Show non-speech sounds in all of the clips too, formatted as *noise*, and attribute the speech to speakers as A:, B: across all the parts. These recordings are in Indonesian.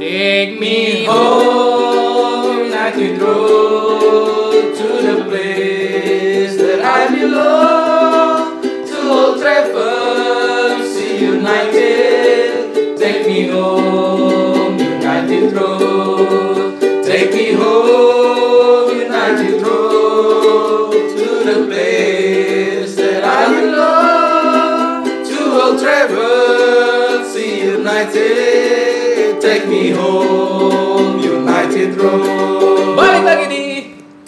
A: Take me home, night road to the place that I belong. To old Trafford, see United. Take me home, United road. Take me home, United road to the place that I belong. To old Trafford, see United. Take me home, United road.
B: Balik lagi di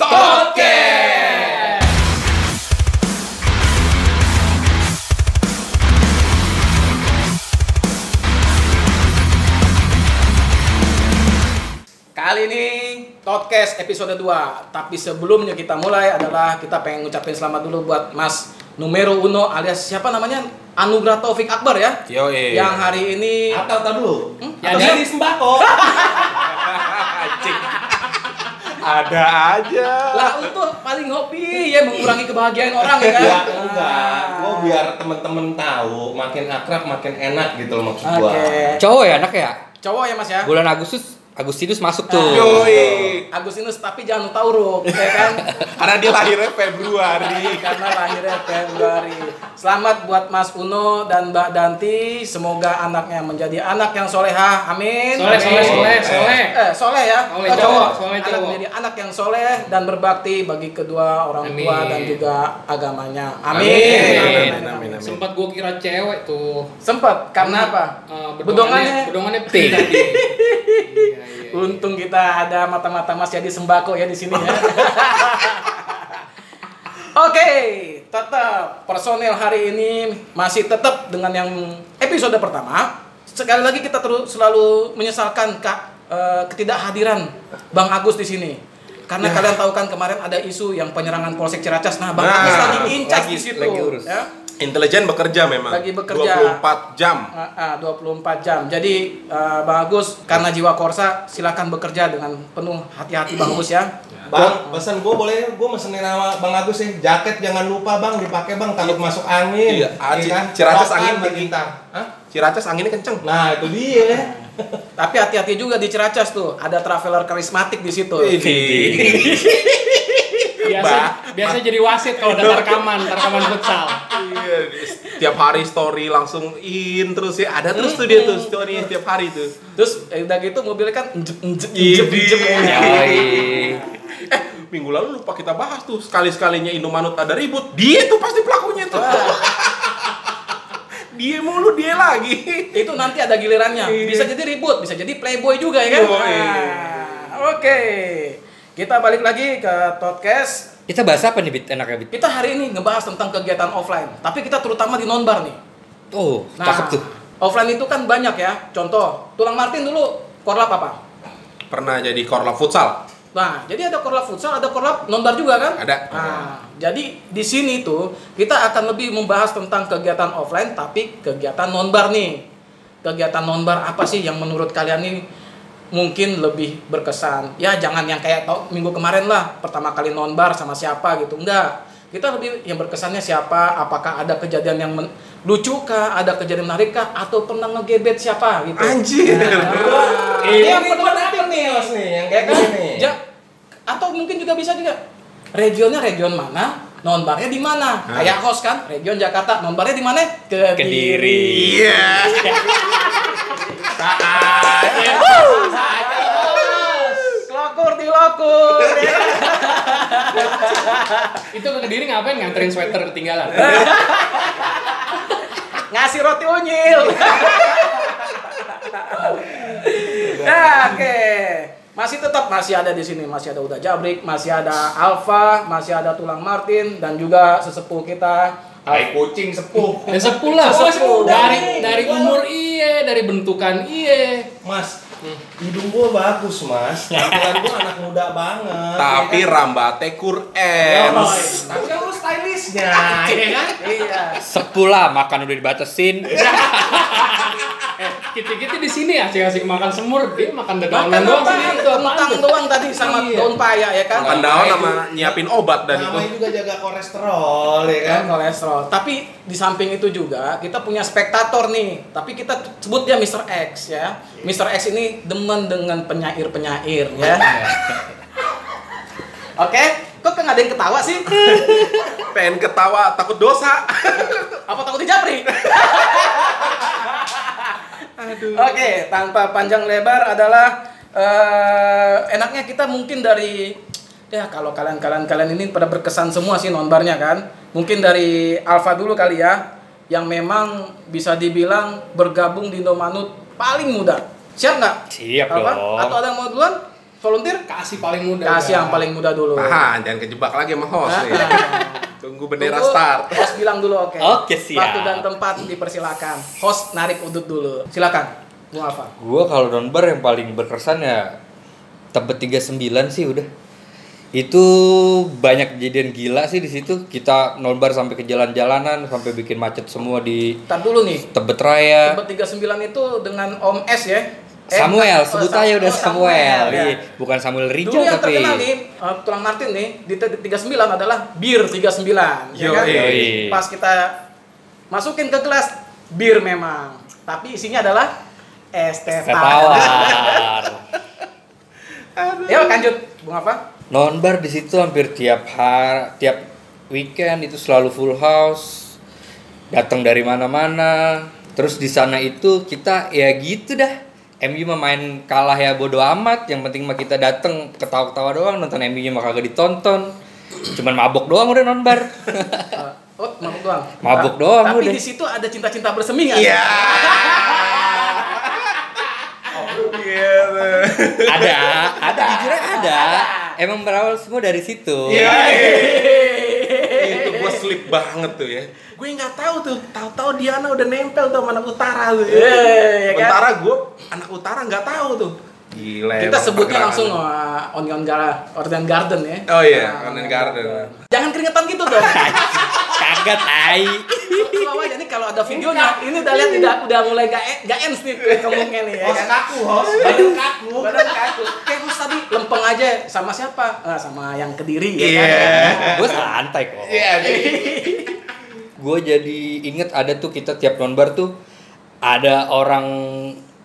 A: Podcast.
B: Kali ini podcast episode 2 Tapi sebelumnya kita mulai adalah Kita pengen ngucapin selamat dulu buat Mas Numero Uno alias siapa namanya? Anugrah Taufik Akbar ya?
C: Iya.
A: Yoi.
B: Yang hari ini
D: Atau tar dulu.
B: Hmm?
D: Yang
B: Atau
D: dari sembako.
A: Anjing. Ada aja.
B: Lah untuk paling hobi ya mengurangi kebahagiaan orang ya kan?
D: ya, enggak.
B: Ah.
D: Gua biar temen-temen tahu makin akrab makin enak gitu loh maksud
B: Oke
D: gua.
E: Cowok ya anak ya?
B: Cowok ya mas ya?
E: Bulan Agustus Agustinus masuk tuh.
A: Yoi.
B: Agustinus tapi jangan tauruk ya kan?
A: Karena dia lahirnya Februari.
B: karena lahirnya Februari. Selamat buat Mas Uno dan Mbak Danti. Semoga anaknya menjadi anak yang solehah. Amin.
C: Soleh,
B: Amin.
C: soleh, soleh, soleh.
B: Eh, soleh ya.
C: Soleh,
B: Oh,
C: cowok, soleh,
B: Anak
C: cowok.
B: menjadi anak yang soleh dan berbakti bagi kedua orang tua
C: Amin.
B: dan juga agamanya. Amin.
D: Amin.
C: Amin,
B: amin, amin.
C: Sempat gua kira cewek tuh.
B: Sempat karena apa?
C: Eh,
B: Bedongannya.
C: bedongannya pink tadi. Iya, iya.
B: Untung kita ada mata-mata Mas jadi sembako ya di sini
E: *laughs*
B: ya. Oke, tetap personel hari ini masih tetap dengan yang episode pertama. Sekali lagi kita terus selalu menyesalkan Kak eh, ketidakhadiran Bang Agus di sini. Karena
E: Ya.
B: kalian tahu kan kemarin ada isu yang penyerangan Polsek Ciracas. Nah, Bang
A: Nah,
B: Agus lagi incas
E: lagi-
B: di situ.
E: lagi urus.
B: ya.
A: Intelijen bekerja memang.
B: Lagi bekerja.
A: 24 jam.
B: Ah, ah, 24 jam. Jadi eh, Bang Agus karena jiwa korsa silakan bekerja dengan penuh hati-hati
E: *clears throat*
B: Bang Agus ya.
D: Bang, pesan gua boleh gua mesenin sama Bang Agus ya. Jaket jangan lupa Bang dipakai Bang takut masuk angin.
A: Iya, ah,
D: Iya
A: ci- ciracas
D: Rokan
A: angin
D: bagi
A: tinggi.
D: kita. Hah?
A: Ciracas anginnya kenceng.
D: Nah, itu dia.
B: Tapi hati-hati juga di Ciracas tuh, ada traveler karismatik di situ.
A: Ini.
C: Biasa, biasa jadi wasit kalau udah rekaman, rekaman futsal.
A: Iya, Setiap hari story langsung in terus ya. Ada terus tuh dia tuh story setiap hari tuh.
B: Terus eh, udah gitu mobilnya kan njep njep njep njep.
C: Iya.
B: iya.
E: Yoi.
A: Eh, minggu lalu lupa kita bahas tuh sekali-sekalinya Indomanut ada ribut. Dia tuh pasti pelakunya tuh.
B: Ah.
A: dia mulu dia lagi.
B: Itu nanti ada gilirannya. Bisa jadi ribut, bisa jadi playboy juga ya kan.
A: Yoi.
B: Ah, Oke. Kita balik lagi ke podcast.
E: Kita bahas apa nih Bit? Enaknya Bit?
B: Kita hari ini ngebahas tentang kegiatan offline, tapi kita terutama di nonbar nih.
E: Oh,
C: Nah,
E: cakep tuh.
B: Offline itu kan banyak ya. Contoh, Tulang Martin dulu korlap apa?
A: Pernah jadi korlap futsal.
B: Nah, jadi ada korlap futsal, ada korlap nonbar juga kan?
A: Ada.
B: Nah, jadi di sini tuh kita akan lebih membahas tentang kegiatan offline tapi kegiatan nonbar nih. Kegiatan nonbar apa sih yang menurut kalian nih mungkin lebih berkesan? Ya jangan yang kayak tau- minggu kemarin lah pertama kali nonbar sama siapa gitu. Enggak. Kita lebih yang berkesannya siapa? Apakah ada kejadian yang men- lucu kah? Ada kejadian menarik kah? Atau pernah ngegebet siapa gitu?
A: Anjir.
D: Ah.
A: Iya.
B: Nah,
D: Ini
B: yang
D: yang
B: pernah
D: penting nih, Os nih, yang
B: ya
D: kayak
B: kan?
D: gini.
B: Ja- atau mungkin juga bisa juga regionnya region mana, nonbarnya di mana?
A: Hah?
B: Kayak host kan, region Jakarta, nonbarnya di mana? Kediri.
E: Kediri.
A: Iya.
B: Lokur di lokur. *laughs*
C: Itu ke Kediri ngapain nganterin sweater ketinggalan?
E: Eh,
B: Ngasih roti unyil. *laughs* nah, oke. Masih tetap masih ada di sini, masih ada Uda Jabrik, masih ada Alfa, masih ada Tulang Martin dan juga sesepuh kita
D: Tai kucing sepuh.
C: Ya sepuluh lah,
B: Sepuluh,
C: sepuluh.
B: udah
C: Dari
B: nih.
C: dari umur iye, dari bentukan iye.
D: Mas, hidung gua bagus, Mas. Tampilan gua anak muda banget.
A: Tapi
D: ya kan?
A: Rambate
D: Yoi,
A: Kurens.
D: Tapi kan lu
B: *laughs*
D: stylishnya, ya kan?
B: Iya.
E: Sepula makan udah dibatesin.
C: Eh, Kiti-kiti di sini asik-asik makan semur, dia makan
B: Makan
C: dedaunan doang
B: apa?
C: sendiri tuh apaan
B: Kentang
C: tuh?
B: doang tadi sama
C: Iya.
B: daun paya ya kan?
A: Makan daun sama nyiapin obat dan itu.
D: Namanya
B: oh.
D: juga jaga kolesterol ya kan.
B: kan kolesterol. Tapi di samping itu juga kita punya spektator nih. Tapi kita sebut dia Mr. X ya. Mr. X ini demen dengan penyair-penyair ya. Oke, kok nggak ada yang ketawa sih?
A: Pengen ketawa takut dosa.
B: Apa takut dijapri? Aduh. Oke, tanpa panjang lebar adalah eh, enaknya kita mungkin dari ya kalau kalian-kalian kalian ini pada berkesan semua sih nonbarnya kan. Mungkin dari Alfa dulu kali ya yang memang bisa dibilang bergabung di Indomanut paling muda. Siap nggak?
E: Siap
B: Alfa?
E: dong.
B: Atau ada yang mau duluan? Volunteer?
C: Kasih paling muda.
B: Kasih yang paling muda dulu.
A: Tahan, jangan kejebak lagi sama host nih.
B: Ah.
A: Tunggu bendera
B: Tunggu,
A: start.
B: Host bilang dulu oke.
E: Oke, siap.
B: Waktu dan tempat dipersilakan. Host narik udut dulu. Silakan. Mau apa?
E: Gua kalau nonbar yang paling berkesan ya tebet 39 sih udah. Itu banyak kejadian gila sih di situ. Kita nonbar sampai ke jalan-jalanan, sampai bikin macet semua di
B: Ntar dulu nih.
E: Tebet Raya.
B: Tebet 39 itu dengan Om S ya. Eh,
E: Samuel,
B: oh,
E: sebut
B: Sam-
E: aja udah
B: oh,
E: Samuel.
B: ya.
E: Iya, Bukan Samuel
B: Dulu
E: Rijal
B: yang
E: tapi
B: terkenal nih, eh, tulang Martin nih, di Tebet 39 adalah bir 39. ya
A: Yoi.
B: kan?
E: Yoi.
B: Pas kita masukin ke gelas, bir memang. Tapi isinya adalah es teh tawar. *laughs*
E: Tawar.
B: Yuk lanjut. Bung apa?
E: Nonbar di situ hampir tiap hari, tiap weekend itu selalu full house. Datang dari mana-mana. Terus di sana itu kita ya gitu dah. MU mah main kalah ya bodo amat. Yang penting mah kita datang ketawa-ketawa doang nonton MU-nya mah kagak ditonton. Cuman mabok doang udah nonbar.
B: Eh, Oh, mabuk doang.
E: Mabuk
B: Ta-
E: doang
B: Tapi
E: udah.
B: di situ ada cinta-cinta bersemi nggak?
A: Iya. Gitu.
E: ada, ada jujur ada. Emang berawal semua dari situ.
A: Iya. Itu
B: Gitu.
A: gua slip banget tuh ya.
B: Gue nggak tahu tuh. Tahu-tahu Diana udah nempel tuh sama anak utara tuh. Iya, kan?
A: Sementara gua anak utara nggak tahu tuh. Gila.
B: Kita
A: emang
B: sebutnya
A: pergerakan.
B: langsung uh, Onion Garden, Onion Garden ya.
A: Oh iya,
B: Nah,
A: Onion Garden.
B: Jangan keringetan gitu dong.
E: Kagak tai.
B: Selawa ini kalau ada videonya, ini udah lihat tidak udah mulai gak e- gak ends nih kemungnya nih ya.
D: Host
B: kan?
D: kaku, host.
B: Aduh.
D: kaku.
B: Badan kaku. Kayak gue tadi lempeng aja sama siapa? Ah, sama yang kediri ya. kan?
E: Gue santai kok.
A: Iya, jadi
E: gue jadi inget ada tuh kita tiap nonbar tuh ada orang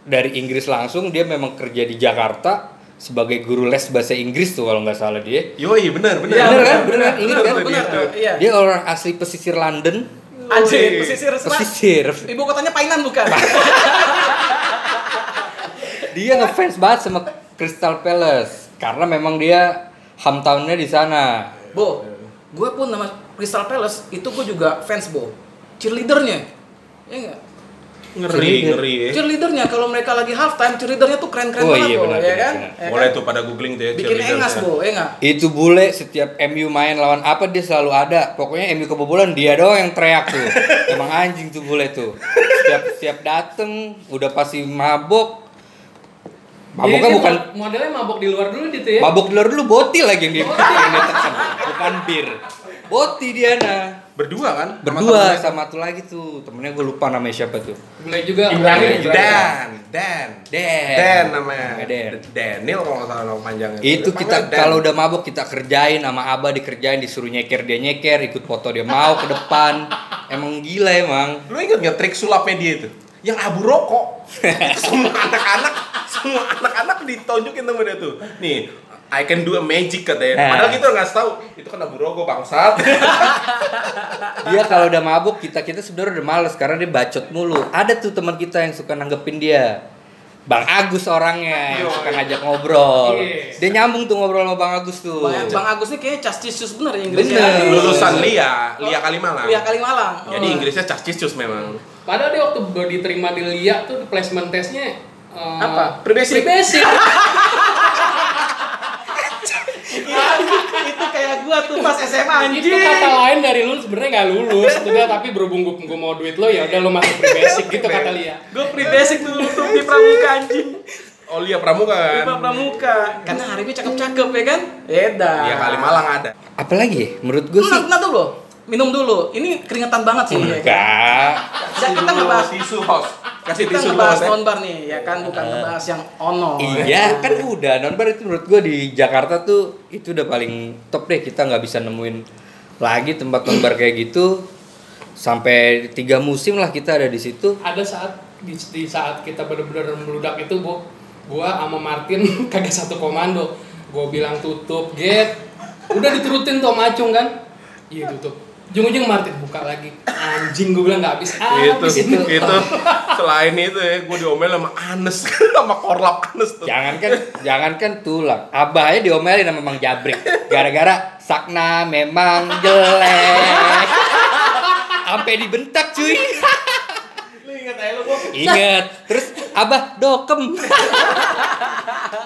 E: dari Inggris langsung dia memang kerja di Jakarta sebagai guru les bahasa Inggris tuh kalau nggak salah dia
A: Yoi, bener, bener.
B: Iya,
E: bener
B: benar,
E: kan bener,
B: benar,
E: inget
A: bener,
E: kan
A: bener,
B: benar. Iya.
E: dia orang asli pesisir London
B: Anjir, pesisir semua.
E: pesisir
B: Ibu kotanya Painan bukan?
E: dia ngefans banget sama Crystal Palace karena memang dia hometownnya di sana
B: Bo,
E: Iya.
B: gue pun nama Crystal Palace itu gue juga fans Bo. Cheerleadernya, ya nggak?
A: Ngeri, ngeri ya.
B: Cheerleadernya kalau mereka lagi halftime, cheerleadernya tuh keren-keren
E: Oh,
B: banget
E: iya,
B: Bo,
E: benar,
B: ya
E: benar,
B: kan?
E: benar.
B: Ya kan?
A: Boleh tuh pada googling tuh ya.
B: Bikin
A: cheerleader
B: engas
A: ya.
B: Bo, ya nggak?
E: itu bule setiap MU main lawan apa dia selalu ada pokoknya MU kebobolan dia doang yang teriak tuh emang anjing tuh bule tuh setiap setiap dateng udah pasti mabok maboknya bukan
C: modelnya Iya, mabok di luar dulu gitu ya.
E: mabok di luar dulu boti lagi yang dia yang dia tekan bukan bir boti dia nah
A: Berdua kan? Sama
E: berdua
A: temennya.
E: sama tuh lagi tuh temennya gue lupa namanya siapa tuh
C: Boleh juga.
B: Iya,
A: Dan,
C: Ibrahim.
A: Dan, Dan,
E: Dan.
A: Dan namanya.
E: Dan.
A: Daniel kalau nggak salah nama panjangnya.
E: itu
A: Dia
E: kita
A: panggil Dan.
E: kalau udah mabok kita kerjain sama abah dikerjain disuruh nyeker dia nyeker ikut foto dia mau ke
A: *laughs*
E: depan emang gila emang
A: Lu inget nggak trik sulapnya dia itu? Yang abu rokok. Itu semua anak-anak, semua anak-anak ditunjukin sama dia tuh. Nih, I can do a magic katanya.
E: Nah.
A: Padahal kita nggak tahu itu kan abu rokok bangsat.
E: dia kalau udah mabuk kita kita sebenarnya udah males karena dia bacot mulu ada tuh teman kita yang suka nanggepin dia Bang Agus orangnya yang suka ngajak ngobrol
C: Yes.
E: dia nyambung tuh ngobrol sama Bang Agus tuh
B: Bang, Bang Agus ini kayaknya castisius bener ya Inggrisnya.
E: Bener.
A: Lulusan Lia, Lia Kalimalang.
B: Kuliah Kalimalang.
A: Jadi
B: Oh.
A: Inggrisnya cascisius memang.
C: Padahal dia waktu baru diterima di LIA tuh placement testnya eh,
B: Apa? Pre-basic?
C: Pre-basic.
B: *laughs* Ya, itu kayak gua tuh pas SMA
C: itu
B: anjing.
C: kata lain dari lu sebenarnya nggak lulus udah tapi berhubung gue, gue mau duit lo ya udah lo masuk pre basic gitu kata Lia
B: Gua free basic dulu tuh di pramuka anjing.
A: Oh Lia Pramuka
B: Di
A: kan?
B: pramuka. Karena hari ini cakep-cakep ya kan?
E: Iya,
B: Edan.
A: Lia Kalimalang ada.
E: apalagi ya? menurut gue
B: Lu
E: sih
B: nanti dulu,
E: Iya.
B: minum dulu. Ini keringetan banget sih. ya kan?
E: enggak
B: Dan kita ngebahas
A: tisu host. Kasih
B: kita
A: tisu
B: ngebahas
A: dulu, Mas,
B: nonbar nih ya kan bukan ngebahas yang ono
E: Iya kan udah nonbar itu menurut gue di Jakarta tuh itu udah paling top deh kita nggak bisa nemuin lagi tempat nonbar kayak gitu sampai tiga musim lah kita ada di situ
C: ada saat di, di saat kita bener-bener meludak itu bu gua sama Martin *laughs* kagak satu komando gua bilang tutup gate udah diturutin tuh sama Acung kan iya tutup ujung-ujung Martin buka lagi anjing gua bilang nggak habis
B: Iya,
A: itu
C: habis
A: itu,
C: itu
A: selain itu ya gue diomelin sama Anes *laughs* sama korlap Anes tuh
E: jangankan jangankan tulang abahnya diomelin sama Mang Jabrik gara-gara Sakna memang jelek sampai dibentak cuy
D: Lu ingat aja lu gua.
E: inget terus abah dokem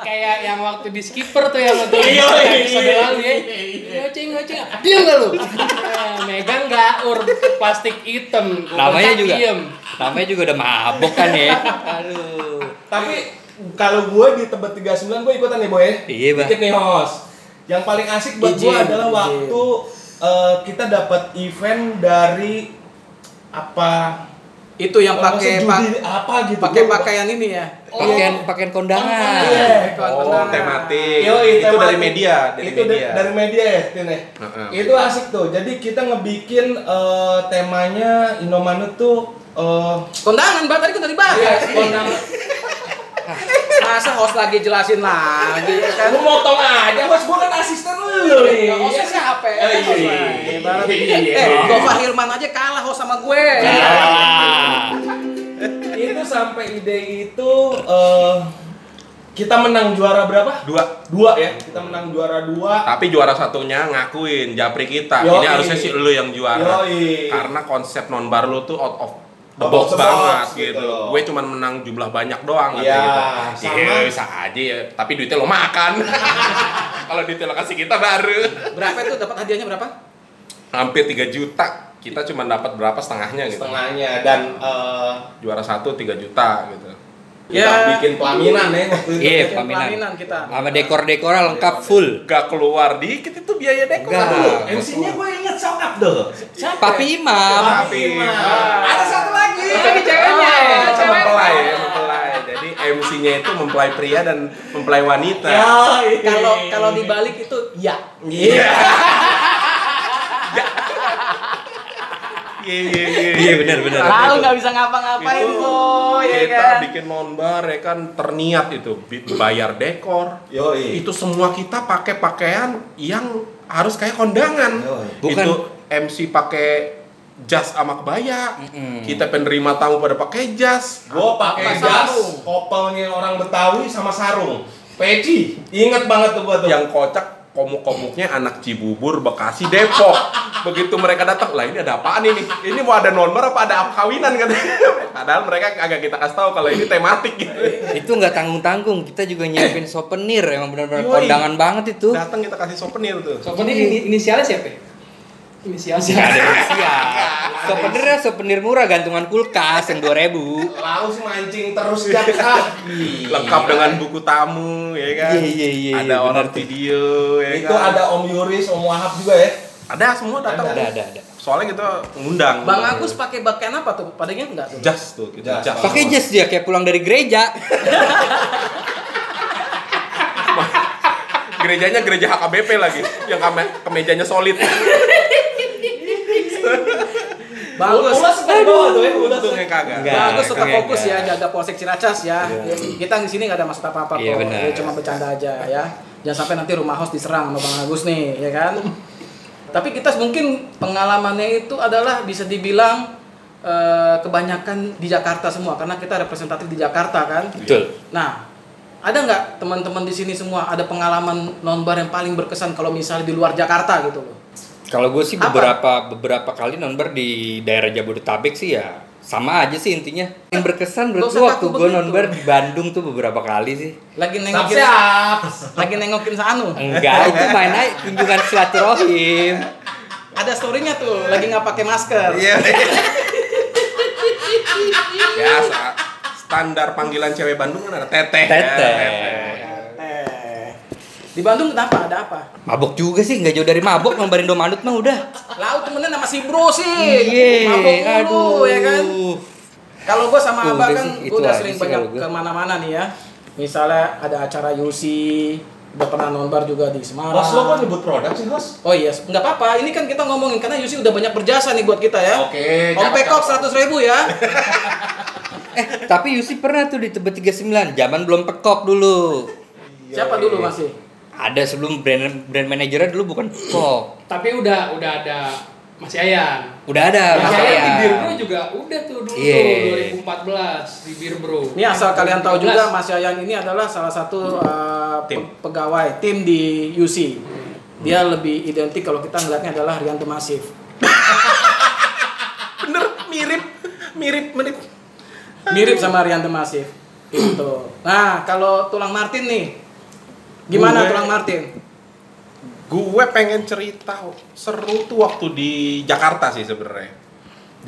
C: kayak yang waktu di skipper tuh yang waktu
D: Iya, iya,
C: episode lalu ya ngoceng ngoceng dia nggak lu Eh, megang gaur plastik hitam Gua
E: namanya
C: kontak
E: juga
A: Iya.
C: diem.
E: namanya juga udah mabok kan ya aduh
D: Tapi kalau gua di Tebet 39 gua ikutan nih boy.
E: Iya, Bah.
D: Dikit nih host. Yang paling asik buat gua
B: Izin,
D: adalah
B: izin.
D: waktu eh, kita dapat event dari apa
B: itu yang pakai
D: Maksudnya judi
B: pak-
D: apa gitu
B: pakai
D: Gua lupa.
B: pakaian ini ya
E: pakaian pakaian
D: Iya.
E: kondangan
B: kawan
A: oh
B: kenangan.
A: tematik
D: Yoi,
A: itu
D: tematik.
A: dari media dari
D: itu da-
A: media
D: dari media ya Tin, ya?
A: Heeh.
D: itu asik tuh jadi kita ngebikin eh, temanya Indomanu tuh eh,
B: kondangan bang tadi kan udah dibahas
D: Iya, kondangan.
B: masa host lagi jelasin lagi ya kan
D: lu motong aja bos gua kan asisten lu
A: Iya,
D: nih
B: Nah, hostnya siapa ya?
D: Eh,
B: Host
D: iya.
B: lah, ibarat- Eh, Gofar Hilman aja kalah host sama gue.
E: Iya. Ah.
D: itu sampai ide itu eh, kita menang juara berapa
A: dua
D: dua ya kita menang juara dua
A: tapi juara satunya ngakuin japri kita
D: Yoi.
A: ini harusnya sih lu yang juara
D: Yoi.
A: karena konsep nonbar lu tuh out of the
D: Out of
A: box
D: the box
A: banget
D: gitu
A: gitu,
D: loh.
A: gue cuman menang jumlah banyak doang
D: Iya,
A: katanya gitu.
D: sama.
A: Iya, bisa aja ya tapi duitnya lo
D: *laughs*
A: makan kalau duitnya lo kasih kita baru
B: Berapa itu dapat hadiahnya berapa?
A: hampir 3 juta kita cuma dapat berapa setengahnya gitu
D: setengahnya dan eh,
A: juara satu 3 juta gitu
D: kita
B: Ya.
D: bikin pelaminan ya waktu itu
E: Iya,
B: Bikin pelaminan
E: pelaminan.
B: kita.
E: Sama dekor-dekornya lengkap full.
A: gak keluar dikit itu biaya dekor
D: Nah,
E: Enggak.
A: dulu
D: MC-nya gue inget sokap tuh.
E: Papi Imam.
A: tapi
D: Ada satu lagi.
B: Lagi ceweknya ya,
A: Ah,
B: cewek.
A: mempelai ya, mempelai jadi MC-nya itu mempelai pria dan mempelai wanita
E: Ya.
B: Kalau kalau dibalik itu ya.
A: Iya. Iya iya iya.
E: Iya, benar, benar.
B: Lalu nggak bisa ngapa-ngapain
A: Itu
B: boy ya
A: Kita
B: kan.
A: bikin nonbar ya kan terniat itu bi- bayar dekor.
D: Yoi.
A: Itu semua kita pakai pakaian yang harus kayak kondangan.
D: Yoi.
E: Bukan.
A: Itu MC pakai jas sama kebaya.
E: Mm-mm.
A: Kita penerima tamu pada pakai jas.
D: Gue pakai jas,
B: Apa sarung?
D: kopelnya orang Betawi sama sarung. Peci. Ingat banget tuh gue tuh.
A: yang kocak komuk-komuknya anak Cibubur, Bekasi, Depok. Begitu mereka datang, lah ini ada apaan ini? Ini mau ada nonbar apa ada kawinan katanya. *laughs* Padahal mereka agak kita kasih tahu kalau ini tematik gitu.
E: Itu nggak tanggung-tanggung. Kita juga nyiapin souvenir. Emang benar-benar
A: Yoi.
E: kondangan banget itu.
A: Datang kita kasih souvenir tuh.
C: soalnya ini inisialnya siapa ya? inisial siapa
E: Iya. Souvenirnya souvenir murah gantungan kulkas yang 2000.
D: Lalu sih mancing terus jak. Ah,
A: Lengkap dengan buku tamu ya kan.
E: Iya, iya, iya,
A: Ada
E: iya,
A: orang
E: benar tuh.
A: video ya
D: Itu
A: kan.
D: ada Om Yuris, Om Wahab juga ya.
A: Ada semua datang.
E: Ada ada ada.
A: Soalnya kita ngundang.
B: Bang Agus pakai pakaian apa tuh? Padahal enggak tuh.
A: jas tuh, kita
D: Jas.
A: jas.
E: Pakai jas dia kayak pulang dari gereja.
A: Gerejanya gereja HKBP lagi. Yang kame- kemejanya solid.
B: Bang Agus.
D: Ulas sampai bawah tuh ya. Ulas.
A: Untungnya kagak.
E: Enggak.
B: Bang Agus tetap
E: Enggak,
B: fokus ya
E: enggak.
B: jaga polsek Ciracas ya. Kita di sini nggak ada maksud apa-apa kok.
E: Iya, benar.
B: Ya, cuma bercanda aja ya. Jangan sampai nanti rumah host diserang sama Bang Agus nih, ya kan?
E: *laughs*
B: Tapi kita mungkin pengalamannya itu adalah bisa dibilang eh, kebanyakan di Jakarta semua karena kita representatif di Jakarta kan.
E: Betul.
B: Nah, ada nggak teman-teman di sini semua ada pengalaman nonbar yang paling berkesan kalau misalnya di luar Jakarta gitu loh?
E: Kalau gue sih
B: Apa?
E: beberapa beberapa kali nonbar di daerah Jabodetabek sih ya sama aja sih intinya. Yang berkesan
B: Nggak
E: menurut gue
B: usah
E: waktu
B: kaku
E: gue
B: begitu.
E: nonbar di Bandung tuh beberapa kali sih.
B: Lagi
D: Siap
B: nengokin
D: siap.
B: lagi nengokin Sanu.
E: Enggak,
B: *laughs*
E: itu main aja kunjungan silaturahim.
B: Ada storynya tuh, lagi nggak pakai masker.
A: Iya. ya, sa- standar panggilan cewek Bandung kan ada teteh.
E: Teteh.
B: Di Bandung kenapa? Ada apa?
E: Mabok juga sih, nggak jauh dari mabok nombarin domanut mah udah.
B: Laut temennya sama si bro sih.
E: Iya,
B: Mabok mulu, ya kan? Kalau gue sama
E: Tuh,
B: Abah
E: udah
B: kan
E: sih,
B: gue
E: itu
B: udah
E: aja
B: sering
E: sih kalau
B: banyak
E: gua.
B: kemana-mana nih ya. Misalnya ada acara Yusi, udah pernah nonbar juga di Semarang.
D: Host lo kok nyebut produk sih, Host?
B: Oh iya, nggak apa-apa. Ini kan kita ngomongin karena Yusi udah banyak berjasa nih buat kita ya.
D: Oke,
B: Om Pekok seratus ribu ya.
E: Eh, tapi Yusi pernah tuh di Tebet 39, zaman belum pekok dulu.
B: *laughs* Siapa dulu masih?
E: Ada sebelum brand brand manajernya dulu bukan pekok.
C: Tapi udah udah ada Mas Yayan.
E: Udah ada,
C: Mas
B: Iya,
E: Nah, Mas
C: Yayan di
E: Yayan.
C: Beer Bro juga udah tuh dulu
E: Iya.
C: tuh 2014 di Beer Bro.
B: Ini asal kalian tahu juga
C: 2014.
B: Mas Yayan ini adalah salah satu uh, pe-
A: Tim. Hmm.
B: pegawai tim di UC. Dia lebih identik kalau kita ngelihatnya adalah Rianto Masif.
A: Bener, mirip, mirip, mirip.
B: Mirip sama Rianto Masif. Itu. Nah, kalau Tulang Martin nih. Gimana
A: Gue-
B: Tulang Martin?
A: Gue pengen cerita seru tuh waktu di Jakarta sih sebenarnya.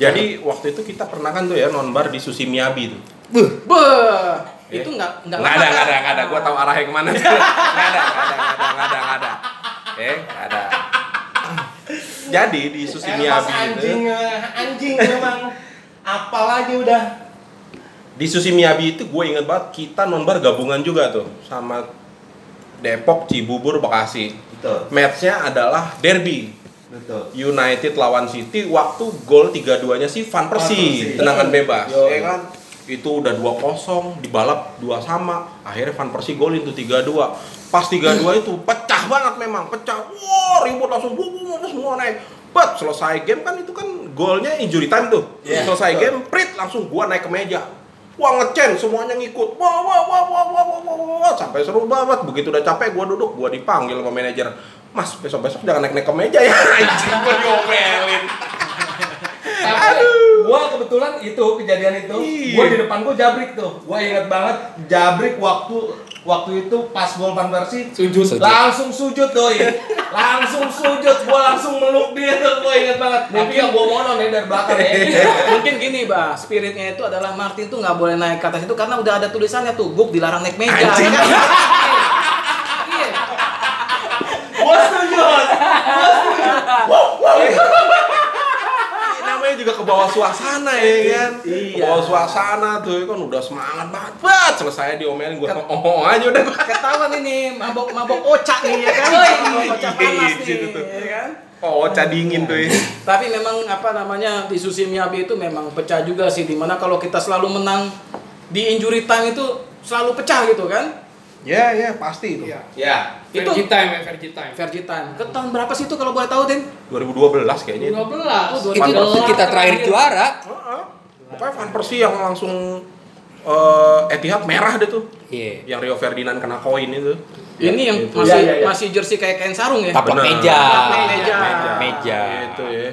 A: Jadi waktu itu kita pernah kan tuh ya nonbar di Susi Miyabi tuh. Ya.
E: Buh,
B: Beuh, itu nggak nggak
A: Eh. Nggak ada,
B: lama,
A: nggak ada,
B: Kak.
A: nggak ada. Gue tahu arahnya kemana. Nggak ada, nggak ada, nggak ada, nggak ada, nggak ada. Eh, nggak ada. Jadi di Susi
D: Eh, Mas
A: Miyabi itu,
D: anjing, eh, anjing memang apal aja udah.
A: di Susi Miyabi itu gue inget banget kita nonbar gabungan juga tuh sama Depok, Cibubur, Bekasi.
D: Betul,
A: Matchnya adalah derby.
D: betul.
A: United lawan City waktu gol 3-2-nya si Van
D: Persie.
A: Persie, tendangan bebas.
D: Yo.
A: Ya kan? Itu udah 2-0, dibalap 2 sama. Akhirnya Van Persie golin tuh 3-2. Pas 3-2 itu pecah banget memang, pecah. Wow, ribut langsung bu, bu, bu, semua naik. But selesai game kan itu kan golnya injury time tuh.
D: Iya,
A: selesai
D: betul.
A: game, prit langsung gua naik ke meja. Wah ngecen semuanya ngikut. Wah wah wah wah wah wah wah, wah, wah. sampai seru banget. Begitu udah capek gua duduk, gua dipanggil sama manajer. Mas, besok-besok jangan naik-naik ke meja ya. *laughs* Anjing gua diomelin.
C: Tapi
D: Gua kebetulan itu kejadian itu,
A: Iya.
D: gua di depan gua Jabrik tuh. Gua ingat banget Jabrik waktu waktu itu pas gol Van Persie
C: sujud
E: Sujud.
D: langsung sujud doi langsung sujud gua langsung meluk dia tuh gua inget banget mungkin yang gua monon ya dari belakang ya
B: Eh, Mungkin gini, Bah. Spiritnya itu adalah Martin tuh nggak boleh naik ke atas itu karena udah ada tulisannya tuh, Guk dilarang naik meja.
A: Anjing.
B: Iya.
D: *laughs* gua sujud
A: namanya juga ke bawah suasana ya kan. Ke bawah suasana tuh ya kan udah semangat banget. Bat, selesai diomelin gua oh, oh aja udah gua.
B: Ketahuan ini mabok mabok ocak nih ya kan. Mabok ocak panas nih,
A: Gitu tuh.
B: ya kan?
A: Oh, oca dingin tuh. Ya.
B: Tapi memang apa namanya di Susi Miyabi itu memang pecah juga sih dimana kalau kita selalu menang di injury time itu selalu pecah gitu kan.
A: Ya, ya, pasti itu.
C: Iya.
D: ya
B: Itu
C: Vergi time, ya, Vergi time.
B: Vergi time. Ke tahun berapa sih itu kalau boleh tahu, Din?
A: 2012 kayaknya.
C: 2012.
A: itu.
B: Oh,
E: itu waktu kita terakhir juara.
A: Heeh. Pokoknya Van Persie yang langsung eh Etihad merah deh tuh.
E: Iya.
A: Yang Rio Ferdinand kena koin itu.
B: Ini yang
A: Itu.
D: Ya,
B: masih
D: ya, ya.
B: masih jersey kayak kain sarung ya.
E: Taplak
A: Benar.
E: meja.
B: Taplak meja. iya.
E: Meja.
A: Itu ya.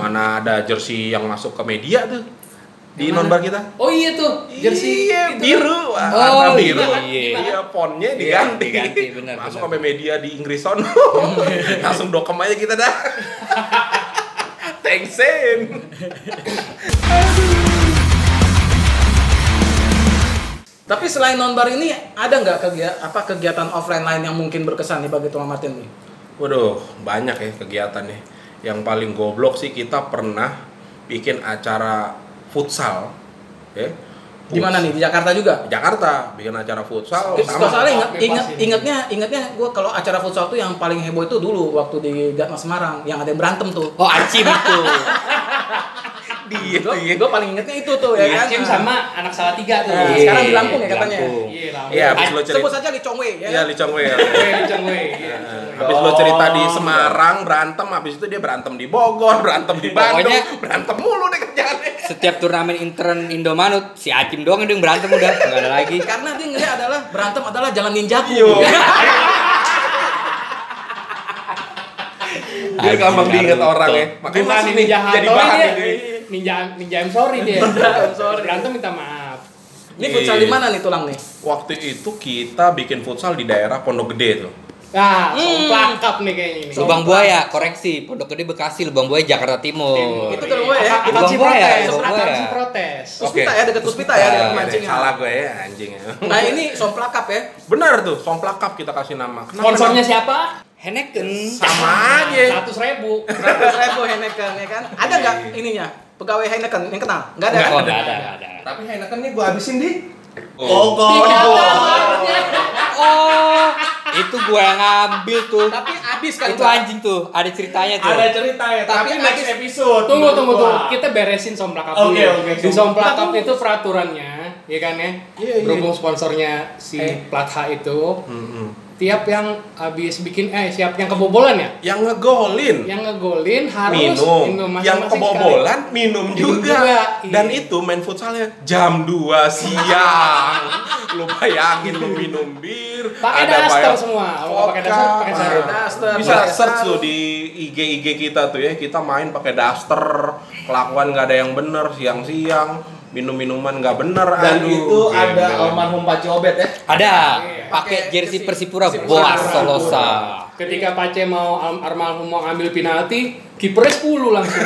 A: Mana ada jersey yang masuk ke media tuh di nonbar kita?
C: Oh iya tuh, jersey gitu.
A: iya,
C: itu.
A: biru, Wah,
E: Oh,
A: warna biru.
E: iya.
A: Iya, fontnya
E: Iya,
A: diganti.
E: diganti, benar,
A: Masuk
E: benar.
A: sampai media di Inggris sono. Langsung dokem aja kita dah. Thanksin.
B: Tapi selain nonbar ini ada nggak kegiatan apa kegiatan offline lain yang mungkin berkesan nih bagi Tuan Martin nih?
A: Waduh, banyak ya kegiatannya. Yang paling goblok sih kita pernah bikin acara futsal. Ya.
B: Di mana nih? Di Jakarta juga?
A: Jakarta bikin acara futsal
B: Terus
A: sama
B: soalnya ingat,
C: Bebas
B: ingat,
C: ini.
B: ingatnya, ingatnya gue kalau acara futsal tuh yang paling heboh itu dulu waktu di Gatma Semarang yang ada yang berantem tuh.
E: Oh, Acim itu.
B: Iya.
A: dia tuh ya.
B: Gue paling ingetnya itu tuh ya kan.
C: Acim Iya, sama anak salah tiga tuh.
B: Nah,
E: Iya,
B: sekarang di Lampung ya
E: di
B: katanya?
E: Lampung.
C: Iya, lah.
A: Iya, habis lo
B: Sebut
A: cerita.
B: saja Lee Chong Wei ya.
A: Iya,
B: kan?
A: Lee Chong Wei, ya.
C: Wei, Ceng Wei. Iya, Ceng Wei.
A: Habis lo cerita di Semarang berantem, habis itu dia berantem di Bogor, berantem di Bandung,
E: Pokoknya-
A: berantem mulu deh kerjaannya.
E: Setiap turnamen intern Indomanut, si Acim doang yang berantem udah, nggak ada lagi.
B: Karena dia ngeliat adalah berantem adalah jalan ya ninjaku.
A: Iya. Dia
E: Anjing,
A: gampang diinget
E: Naruto.
A: orang ya. Makanya
C: Bukan
A: masih
C: ninja
A: jadi
C: Hattori
A: bahan
C: dia.
A: ini.
C: Ninja ninja I'm sorry dia.
B: I'm sorry.
C: Berantem minta maaf.
B: Ini futsal di mana nih tulang nih?
A: Waktu itu kita bikin futsal di daerah Pondok Gede tuh.
C: Nah, so
B: Hmm.
C: pelangkap nih kayaknya ini.
E: Lubang Buaya, koreksi. Pondok Gede Bekasi, Lubang Buaya Jakarta Timur.
B: Itu kalau gue ya.
C: Akan- akan
E: Lubang
C: si
E: buaya,
C: protes,
E: lubang
C: akan
E: buaya.
C: si protes.
B: Puspita
A: Oke. Iya,
B: ya dekat Puspita ya dekat
E: Puspita,
B: mancing. ya.
A: Salah gue ya anjing ya.
B: Nah ini somplakap ya.
A: Benar tuh, somplakap kita kasih nama. Kenapa
C: Sponsornya siapa?
E: Henneken.
A: nama- sama aja.
C: Seratus ribu.
B: Seratus ribu Heineken ya kan? Ada nggak ininya? pegawai Heineken yang kenal? Nggak ada.
E: Enggak,
B: kan?
E: oh, enggak ada, enggak ada.
D: Tapi Heineken nih gue habisin di
A: Oh,
C: Iya,
B: Tidak ada.
E: Oh, itu gue yang ngambil tuh.
B: Tapi habis kan
E: Itu anjing tuh, ada ceritanya tuh.
D: ada cerita ya, tapi,
B: Tapi
D: next
B: abis-
D: episode.
C: Tunggu tunggu
D: Menurut
C: tunggu.
D: gua.
C: Kita beresin somplak
D: Oke,
C: dulu. ya.
D: oke,
C: Di
D: Somplak.
C: somplak Cup itu peraturannya, ya kan ya?
A: Iya, iya.
C: Berhubung sponsornya si
B: Eh.
C: Platha itu, tiap yang habis bikin eh siap yang kebobolan ya,
A: Yang ngegolin.
C: yang ngegolin harus
A: minum, yang
C: masing-masing
A: kebobolan minum juga.
C: juga, iya.
A: Dan itu main futsalnya jam 2 siang. lu bayangin lu minum bir,
C: Pakai daster
A: bayang-
C: semua. Kalau nggak pakai daster, pakai sarung.
A: Nah,
B: Daster,
A: Bisa
B: pakai
A: search
B: sarung.
A: tuh di IG-IG kita tuh ya, kita main pakai daster, kelakuan nggak ada yang bener siang-siang, minum-minuman nggak bener.
D: Dan
A: aduh.
D: itu ada
A: Gembel.
D: almarhum Paci Obet ya.
E: Ada,
C: Iya.
E: pakai jersey
B: Persi-
E: Persipura
B: Persipura.
E: Boas Solosa.
C: sekali. Ketika Pace mau al- almarhum mau ambil penalti, kipernya 10 langsung.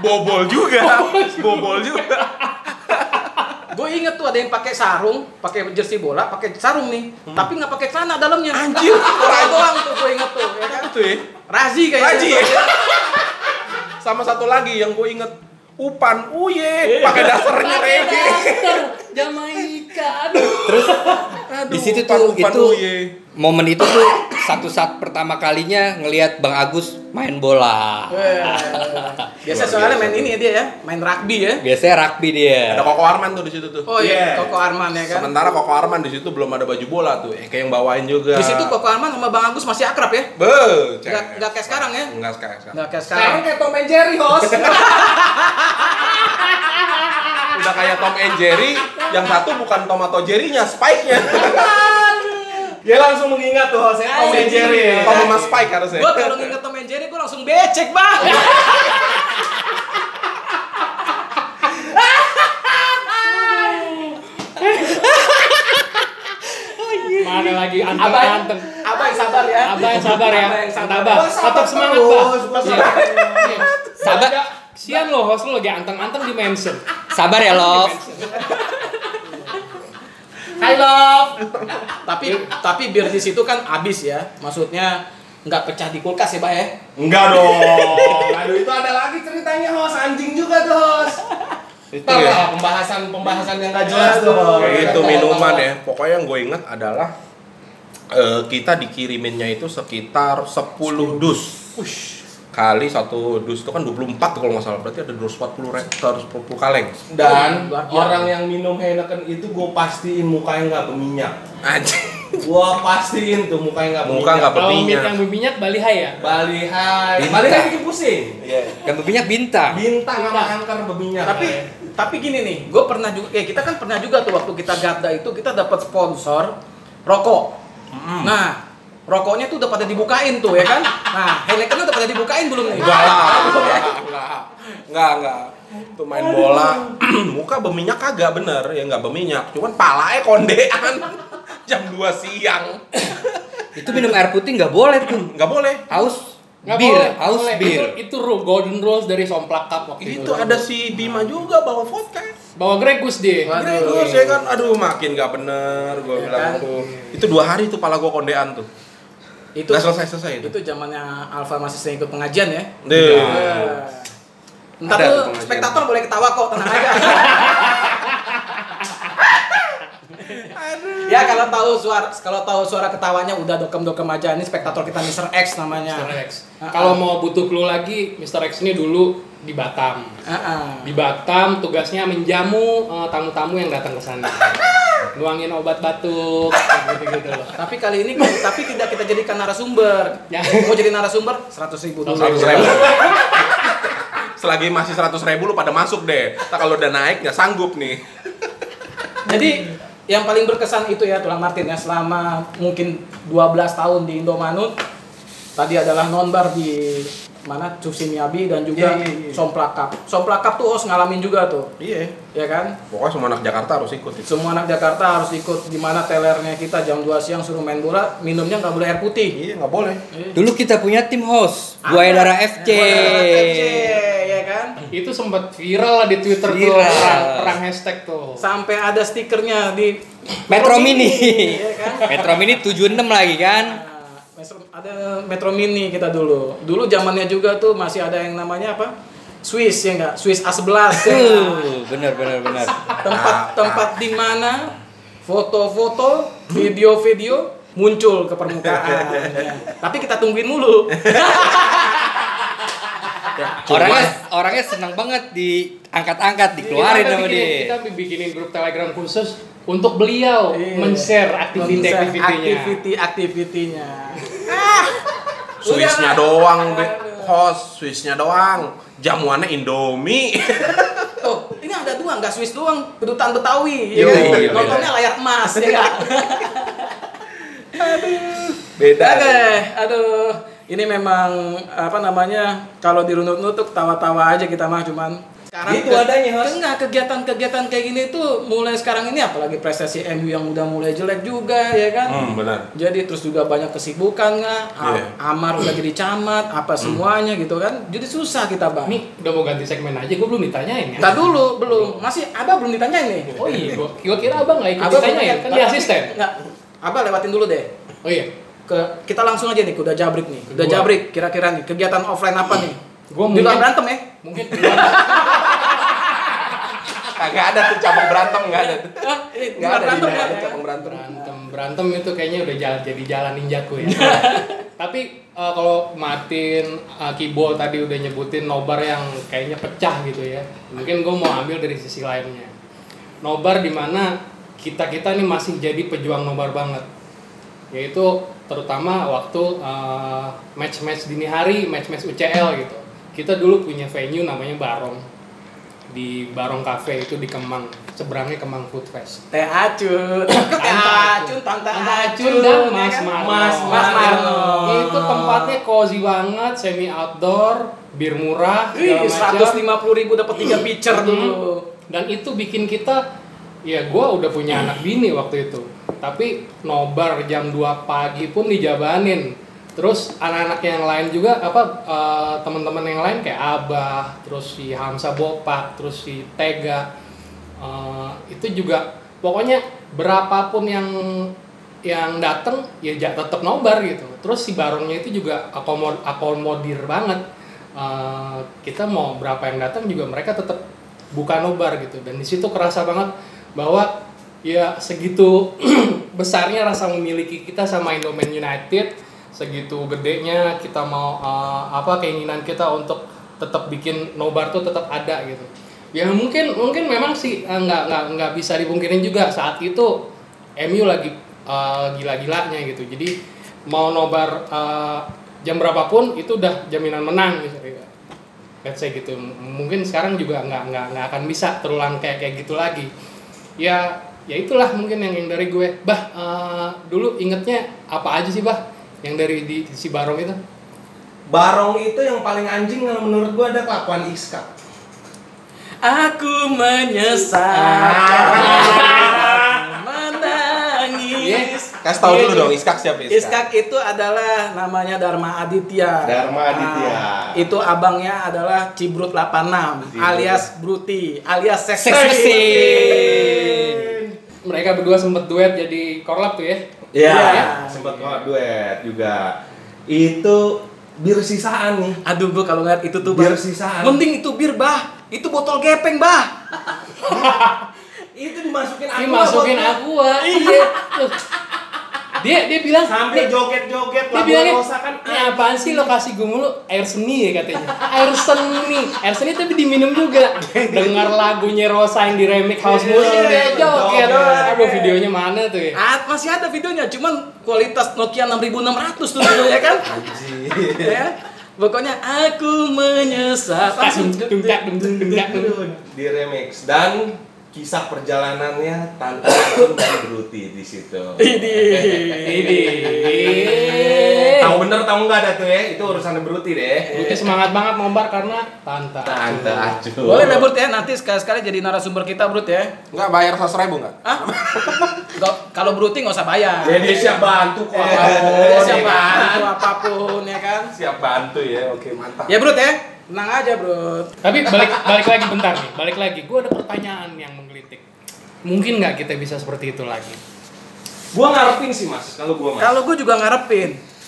A: bobol juga, bobol juga.
B: Gue inget tuh ada yang pakai sarung, pakai jersey bola, pakai sarung nih, tapi nggak pakai celana dalamnya.
A: Anjir.
B: *laughs* orang doang tuh gue inget tuh. Ya kan?
A: Itu ya.
B: Razi kayaknya.
A: Haji. Sama satu lagi yang gue inget Upan, uye,
B: Iya.
A: pakai dasarnya
C: Pakai
A: reggae.
C: daster Jamaika. Aduh.
A: Aduh, iya.
E: Di situ
A: Upan,
E: tuh
A: Upan,
E: itu
A: uye.
E: momen itu tuh satu saat pertama kalinya ngelihat Bang Agus main bola.
B: Wah. Biasa soalnya main ini ya dia ya, main rugby ya.
E: Biasanya rugby dia.
A: Ada Koko Arman tuh di situ tuh.
B: Oh iya,
D: Yeah.
B: Koko Arman ya kan.
A: Sementara Koko Arman di situ belum ada baju bola tuh, eh, kayak yang bawain juga.
B: Di situ Koko Arman sama Bang Agus masih akrab ya.
A: Be, Iya.
B: Nggak nggak kayak sekarang ya.
A: Enggak kayak sekarang.
B: Nggak kayak sekarang.
D: Sekarang kayak Tom and Jerry, host.
A: Udah kayak Tom and Jerry, yang satu bukan tomato Jerry-nya, Spike-nya.
D: Dia langsung mengingat tuh host ya, Tom and Jerry.
B: Iya.
D: ya.
A: Tom sama Spike harusnya.
B: Gue kalau nginget Tom and Jerry, gue langsung becek bang.
C: Mana lagi anteng-anteng.
B: Abang sabar ya.
C: Abah yang sabar ya.
B: Abah yang sabar.
C: Sabar.
D: Gua sabar
C: Tetap semangat,
D: terus,
C: Pak.
D: gua
C: Iya.
D: sabar.
C: Iya.
E: Sabar.
C: Ada- Sian lo host lo lagi anteng-anteng di mention.
E: Sabar ya, Love.
C: Hai love.
B: Tapi tapi bir di situ kan abis ya. Maksudnya nggak pecah di kulkas ya, Pak ya.
A: Enggak dong. Oh.
D: Aduh, itu ada lagi ceritanya, host. Anjing juga tuh, host.
A: Itu
D: Tahu
A: ya.
D: lah pembahasan-pembahasan yang gak jelas Iya, tuh. host.
A: itu
D: Tahu,
A: minuman
D: tahu.
A: ya pokoknya yang gue inget adalah eh, kita dikiriminnya itu sekitar 10 dus kali satu dus itu kan 24 kalau nggak salah berarti ada 240 rektor 10 kaleng
D: Dan
B: Luar biasa.
D: orang yang minum Heineken itu gue pastiin mukanya nggak berminyak.
A: anjing
D: Gue pastiin tuh mukanya nggak
A: muka
D: berminyak.
A: nggak
C: Kalau mie yang
A: berminyak
C: berminyak Bali Hai ya.
D: Bali Hai.
E: Bintang.
D: Bali Hai bikin pusing. Iya.
E: Yang berminyak bintang.
D: Bintang sama angker berminyak. Iya.
B: Tapi tapi gini nih, gue pernah juga kayak kita kan pernah juga tuh waktu kita gada itu kita dapat sponsor rokok. Nah, rokoknya tuh udah pada dibukain tuh ya kan? Nah, Heineken udah pada dibukain belum nih?
A: enggak lah enggak enggak enggak itu main bola *clears throat* muka berminyak kagak bener ya nggak berminyak cuman palanya kondean *laughs* jam 2 siang
E: Itu minum air putih nggak boleh tuh.
A: nggak boleh
E: Haus
C: Nggak
E: bir,
C: boleh,
E: haus
C: boleh.
E: bir. Iya.
C: Itu, itu rule, golden rules dari somplak cup waktu itu.
A: itu ada si Bima juga bawa vodka
C: Bawa Gregus dia.
B: Waduh.
A: Terus ya kan, aduh makin gak bener gue
B: kan?
A: bilang itu. Itu dua hari tuh pala gue kondean tuh.
B: Itu
A: Gak selesai-selesai itu.
B: itu zamannya Alfa masih sering ikut pengajian ya.
A: Duh.
B: Entar
A: Ada tuh
B: tuh
A: pengajian.
B: spektator boleh ketawa kok, tenang aja. ya kalau tahu suara kalau tahu suara ketawanya udah dokem-dokem aja ini spektator kita Mr. X namanya.
C: Mr. X.
B: Ah,
C: Kalau
B: ah.
C: mau butuh clue lagi, Mr. X ini dulu di Batam.
B: Ah, ah.
C: Di Batam tugasnya menjamu eh, tamu-tamu yang datang ke sana. Nuangin obat batuk, gitu-gitu loh.
B: Tapi kali ini tapi tidak kita jadikan narasumber.
C: Ya.
B: Mau jadi narasumber 100.000 ribu dulu.
A: Seratus ribu. Selagi masih seratus ribu lu pada masuk deh. Tak kalau udah naik nggak sanggup nih.
B: Jadi yang paling berkesan itu ya tulang Martin ya selama mungkin 12 tahun di Indomanut tadi adalah nonbar di mana Cusi Miyabi dan juga
A: Iya, iya, iya.
B: Somplak Cup. Somplak Cup tuh harus ngalamin juga tuh,
A: Iya.
B: ya kan?
A: Pokoknya semua anak Jakarta harus ikut itu.
B: Semua anak Jakarta harus ikut di mana telernya kita jam 2 siang suruh main bola, minumnya nggak boleh air putih.
A: Iya nggak boleh.
E: Dulu kita punya tim host, Buaya
B: Ada.
E: Dara FC.
B: FC, ya kan?
C: Itu sempat viral lah di Twitter tuh,
E: Viral.
C: perang, perang hashtag tuh.
B: Sampai ada stikernya di
E: Metro Mini.
B: ya kan?
E: Metro Mini 76 lagi kan.
B: Nah, Metro- ada Metro Mini kita dulu. Dulu zamannya juga tuh masih ada yang namanya apa? Swiss ya enggak? Swiss A11 ya nggak?
E: Uh, bener bener bener.
B: tempat
A: Ah,
B: tempat di mana foto-foto, video-video muncul ke
E: *laughs*
B: permukaan. ya. Tapi kita tungguin mulu.
E: Orangnya orangnya senang banget diangkat-angkat
A: Iya, kan
E: dikeluarin
C: Kita
E: sama
C: bikin-
E: dia.
C: Kita bikinin grup Telegram khusus untuk beliau
B: Iya.
C: men-share aktivitas-aktivitinya.
B: Aktiviti-aktivitinya.
A: Swissnya doang, Be. host Swissnya doang. Jamuannya Indomie.
B: Tuh, Oh, ini ada dua, nggak Swiss doang, kedutaan Betawi.
E: Yo,
B: ya kan?
E: iya,
B: Nontonnya layar emas, ya nggak?
D: Iya.
E: Beda.
A: kan?
B: Oke, aduh. Ini memang apa namanya? Kalau dirunut-nutuk tawa-tawa aja kita mah cuman sekarang
D: Gitu adanya, Hos.
B: Enggak, kegiatan-kegiatan kayak gini tuh mulai sekarang ini apalagi prestasi MU yang udah mulai jelek juga ya kan.
A: Hmm, benar.
B: Jadi terus juga banyak kesibukan nggak, A-
A: Iya.
B: Amar udah jadi camat, apa semuanya gitu kan. Jadi susah kita bang.
C: Nih, udah mau ganti segmen aja, gue belum ditanyain ya.
B: Ntar dulu, belum. Masih abah belum ditanyain nih.
C: Oh iya, gue kira abang nggak ikut ditanyain, kan dia asisten.
B: Enggak, abah lewatin dulu deh.
C: Oh iya,
B: Ke, kita langsung aja nih ke udah jabrik nih. Udah
C: Kedua.
B: jabrik kira-kira nih kegiatan offline apa nih?
C: Gua
B: Di luar
C: mungkin-
B: berantem ya.
C: mungkin keluar-
A: Kagak ada tuh cabang berantem nggak ada. tuh.
B: Hah? Ini di
A: Nggak
B: luar
A: ada,
B: berantem
A: nggak
B: ya.
A: ada cabang berantem.
C: berantem berantem itu kayaknya udah jalan jadi jalan ninjaku ya. Tapi eh, kalau Martin eh, Kibo tadi udah nyebutin nobar yang kayaknya pecah gitu ya. Mungkin gue mau ambil dari sisi lainnya. Nobar dimana kita kita nih masih jadi pejuang nobar banget. Yaitu terutama waktu eh, match-match dini hari, match-match UCL gitu. Kita dulu punya venue namanya Barong di Barong Cafe itu di Kemang, seberangnya Kemang Food Fest.
B: Teh acun. Kok Teh acun, tante
C: Tante
B: acun
C: Ah, Acun dan
B: ya
C: Mas
B: kan?
C: Marno.
B: Mas Mas Marno.
C: Itu tempatnya cozy banget, semi outdoor, bir murah, segala
B: Ih,
C: macam. Hmm.
B: 150 ribu dapat 3 pitcher dulu.
C: Dan itu bikin kita, ya gue udah punya anak bini waktu itu. Tapi nobar jam 2 pagi pun dijabanin. Terus anak-anak yang lain juga apa eh, teman-teman yang lain kayak Abah, terus si Hamsa Bopak, terus si Tega, Eh, itu juga pokoknya berapapun yang yang datang ya ja- tetap nobar gitu terus si barongnya itu juga akomod akomodir banget Eh, kita mau berapa yang datang juga mereka tetap buka nobar gitu dan di situ kerasa banget bahwa ya segitu *clears throat* besarnya rasa memiliki kita sama Indomain United segitu gedenya kita mau eh, apa keinginan kita untuk tetap bikin nobar tuh tetap ada gitu ya mungkin mungkin memang sih eh, nggak nggak nggak bisa dipungkirin juga saat itu MU lagi eh, gila-gilanya gitu jadi mau nobar eh, jam berapapun itu udah jaminan menang misalnya let's say gitu M- mungkin sekarang juga nggak nggak nggak akan bisa terulang kayak kayak gitu lagi ya ya itulah mungkin yang, yang dari gue bah eh, dulu ingetnya apa aja sih bah yang dari di, di si Barong itu
D: Barong itu yang paling anjing kalau menurut gua ada kelakuan Iska.
B: Aku menyesal. Menangis.
A: Kasih tahu
B: Iya,
A: dulu
B: iya.
A: dong Iskak siapa Iskak?
B: Iskak itu adalah namanya Dharma Aditya.
D: Dharma Aditya.
B: Ah, itu abangnya adalah Cibrut 86 alias Bruti, alias Sex
E: Sex
B: Machine.
E: machine.
C: mereka berdua sempet duet jadi korlap tuh ya
D: Iya,
B: Iya.
D: sempat kok duet juga. Itu bir sisaan nih.
B: Aduh gua kalau ngeliat itu tuh
D: Bir
B: Bah.
D: sisaan.
B: Mending itu bir bah, itu botol gepeng bah.
D: Itu dimasukin
C: Ini
D: aku.
C: masukin aqua. Iya. Loh. Dia dia bilang dia,
D: Sampai joget-joget
C: dia
D: lagu
C: bilangnya,
D: Rosa kan
C: ini apaan sih lo kasih gue mulu air seni ya katanya. Air seni, air seni tapi diminum juga. Dengar lagunya Rosa yang di remix house
D: Iya,
C: music dia
D: joget.
C: joget. Aduh videonya mana tuh ya?
B: Ah, masih ada videonya, cuman kualitas Nokia 6600 tuh dulu ya kan? ya. Pokoknya aku menyesal. Langsung
C: Dumdak dumdak dumdak dumdak.
D: di remix dan kisah perjalanannya tanpa akun dan Bruti di situ. Iya,
C: Ini.
D: Tahu bener tahu nggak ada tuh ya? Itu urusan Bruti deh.
C: Lucu semangat banget ngombar karena tante.
D: Tante Acu.
B: Boleh deh Brut ya, nanti sekali-sekali jadi narasumber kita Brut ya.
A: Nggak bayar 100 ribu nggak?
B: Hah? Nggak- kalau Bruti nggak usah bayar.
D: Jadi siap bantu kok.
B: Dia
D: apapun,
B: siapa
D: ya kan?
B: atau apapun ya kan.
D: Siap bantu ya. Oke, mantap.
B: Ya Brut ya, tenang aja Brut.
C: Tapi balik balik lagi bentar nih, balik lagi. Gue ada pertanyaan yang menggelitik. Mungkin nggak kita bisa seperti itu lagi?
D: Gua ngarepin sih, Mas. Kalau gua Mas.
B: Kalau gue juga ngarepin.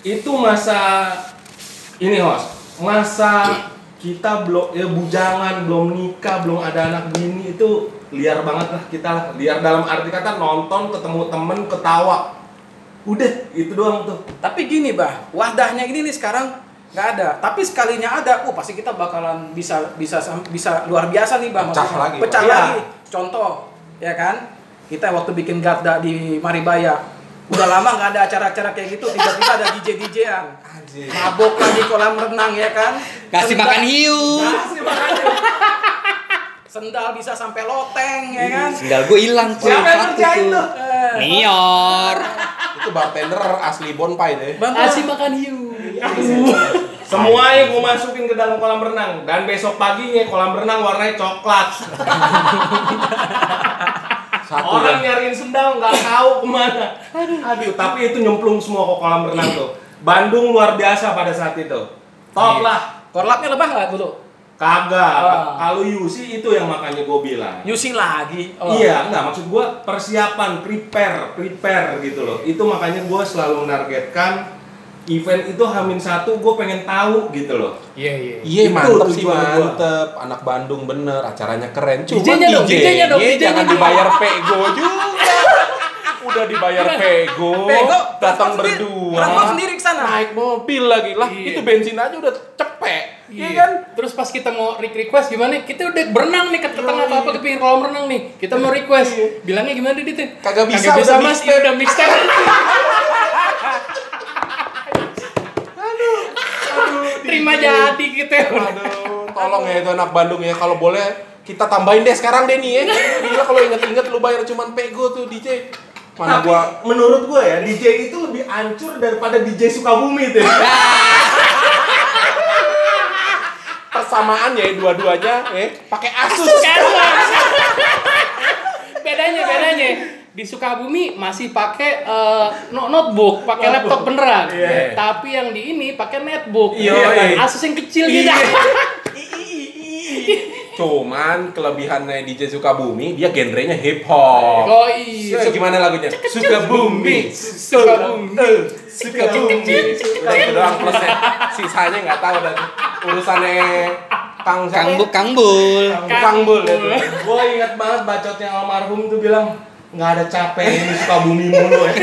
D: itu masa ini, Hos. Masa kita belum ya bujangan belum nikah belum ada anak bini itu liar banget lah kita lah liar dalam arti kata nonton ketemu temen ketawa udah itu doang tuh
B: Tapi gini bah, wadahnya ini nih sekarang nggak ada. Tapi sekalinya ada, uh pasti kita bakalan bisa bisa sam- bisa luar biasa nih bah.
A: Pecah
B: maksudnya.
A: lagi,
B: Pecah
D: Bah.
B: lagi. Iya. Contoh, ya kan? Kita waktu bikin garda di Maribaya, udah lama nggak ada acara-acara kayak gitu. Tiba-tiba ada DJ DJ-an, mabok lagi kolam renang ya kan?
E: Kasih
B: Sendal-
E: makan hiu.
B: Sendal bisa sampai loteng ya
A: Nah.
B: kan?
E: Sendal gue hilang tuh.
D: Siapa yang
E: satu
D: ngerjain
E: tuh.
D: tuh?
B: Eh,
E: Nior.
A: itu bartender asli bonpai deh
B: bantu
C: Asih makan hiu.
D: semuanya gue masukin ke dalam kolam renang dan besok paginya kolam renang warnanya coklat
A: satu
D: orang
A: deh.
D: nyariin sendal nggak tahu kemana aduh tapi itu nyemplung semua ke kolam renang tuh Bandung luar biasa pada saat itu top lah
B: Korlapnya lebah nggak dulu?
D: kagak
B: Ah.
D: kalau Yusi itu yang makanya gue bilang
B: Yusi lagi. Oh.
D: Iya, enggak maksud gua persiapan, prepare, prepare gitu loh. Itu makanya gua selalu menargetkan event itu Hamin satu gue pengen tahu gitu loh.
C: Iya iya.
A: Iya
D: Itu
A: mantep sih
D: tujuan gua.
A: mantep anak Bandung bener acaranya keren cuma iya,
C: DJ-nya dong, DJ-nya dong, DJ-nya
A: jangan
C: dong.
A: dibayar pego juga udah dibayar pego,
B: Bego,
A: datang
B: transport sendiri-
A: berdua
B: transport sendiri ke sana.
A: naik mobil lagi lah
C: Iya.
A: itu bensin aja udah cepek iya
C: Iya
A: kan
C: Terus pas kita mau re- request gimana? Kita udah berenang nih ke ke tengah atau apa ke pinggir kolam renang nih. Kita mau request. Bilangnya gimana Dit?
A: Kagak bisa,
C: Kagak bisa
A: udah
C: Mas,
A: mixtape.
C: ya udah
A: *laughs*
C: mixtape. Terima
A: Iya.
C: jadi gitu ya.
A: aduh tolong ya itu anak Bandung ya kalau boleh kita tambahin deh sekarang deh nih ya Gila kalau inget-inget lu bayar cuman pego tuh DJ mana
D: Tapi
A: gua
D: menurut gua ya DJ itu lebih ancur daripada DJ Sukabumi itu. ya.
A: persamaannya ya dua-duanya eh pakai Asus
C: kan, bedanya bedanya di Sukabumi masih pakai eh, no- notebook, pakai laptop beneran.
D: Iya.
C: Tapi yang di ini pakai netbook.
D: Iya.
C: Asus yang kecil gitu.
A: Iya. Cuman kelebihannya DJ Sukabumi dia genrenya hip hop.
C: Oh iya.
A: Su- gimana lagunya? Sukabumi,
C: Sukabumi.
A: Sukabumi. Nah, Itu doang plusnya. Sisanya nggak tahu dan urusannya Kang siapa?
E: Kang Bul, Kang Bul.
A: Kang Bul. ya tuh.
D: *laughs* Gua ingat banget bacotnya almarhum tuh bilang nggak ada capek ini Sukabumi mulu ya.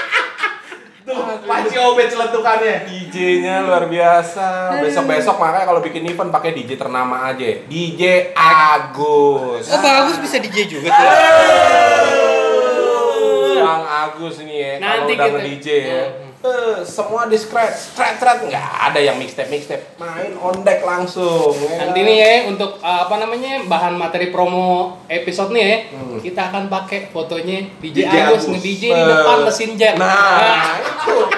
D: *laughs* tuh panci obet celetukannya.
A: DJ-nya luar biasa. Besok-besok makanya kalau bikin event pakai DJ ternama aja. DJ Agus.
E: Oh bagus bisa DJ juga tuh.
A: Bang Agus nih ya, kalau
C: Nanti
A: udah
C: kita- Iya.
A: nge-DJ ya. Eh, semua di scratch, scratch, scratch nggak ada yang mixtape, mixtape. Main on deck langsung. ya.
C: Nanti nih ya untuk uh, apa namanya bahan materi promo episode nih ya kita akan pakai fotonya DJ,
D: DJ
C: Agus
D: Agus.
C: nge DJ di depan mesin Ah, jet. *laughs*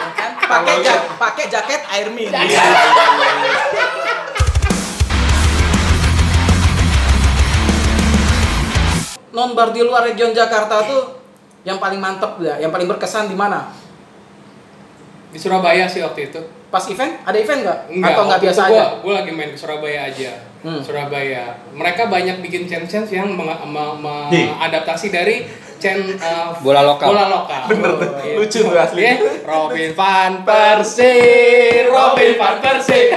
A: Nah,
B: kan? Pakai
A: itu.
B: ja- pakai jaket Airmin. Nonbar di luar region Jakarta tuh yang paling mantep ya, yang paling berkesan di mana?
C: di Surabaya sih waktu itu.
B: Pas event? Ada event nggak? Atau nggak
C: waktu
B: biasa
C: itu
B: aja?
C: gua, Gue lagi main ke Surabaya aja.
B: Hmm.
C: Surabaya. Mereka banyak bikin chant-chant yang meng- me- me-
A: Nih.
C: mengadaptasi dari chant uh,
E: Bola lokal.
C: Bola lokal.
A: Bener tuh.
C: Iya.
A: Lucu tuh asli.
C: Iya. Robin van Persie, Robin van Persie.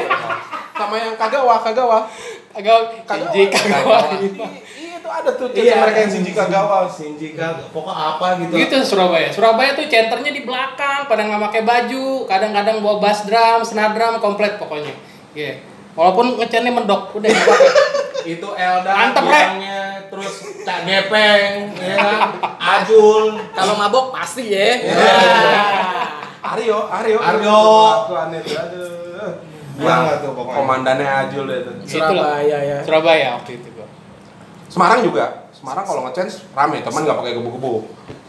A: Sama yang Kagawa, Kagawa.
C: Agak
A: Kagawa.
C: jijik kagak.
A: Iya, itu ada tuh. Iya, mereka yang Shinji Kagawa.
D: Shinji Kagawa, pokoknya apa gitu.
C: Gitu Surabaya. Surabaya tuh centernya di belakang, pada nggak pakai baju, kadang-kadang bawa bass drum, snare drum, komplit pokoknya. Iya. Walaupun ngecennya mendok, udah nggak apa-apa.
D: itu Elda
C: Mantep, Re.
D: bilangnya terus Cak Gepeng ya kan Ajul
B: Kalau mabok pasti
C: Iya.
B: ya.
A: Aryo, Aryo.
D: Aryo.
A: Tuh, aneh tuh, aduh.
D: Bilang nggak tuh pokoknya.
A: Komandannya Ajul itu.
B: Surabaya ya.
C: *laughs* Surabaya waktu itu gua.
A: Semarang juga. Semarang kalau nge-chance rame, teman nggak pakai gebu-gebu.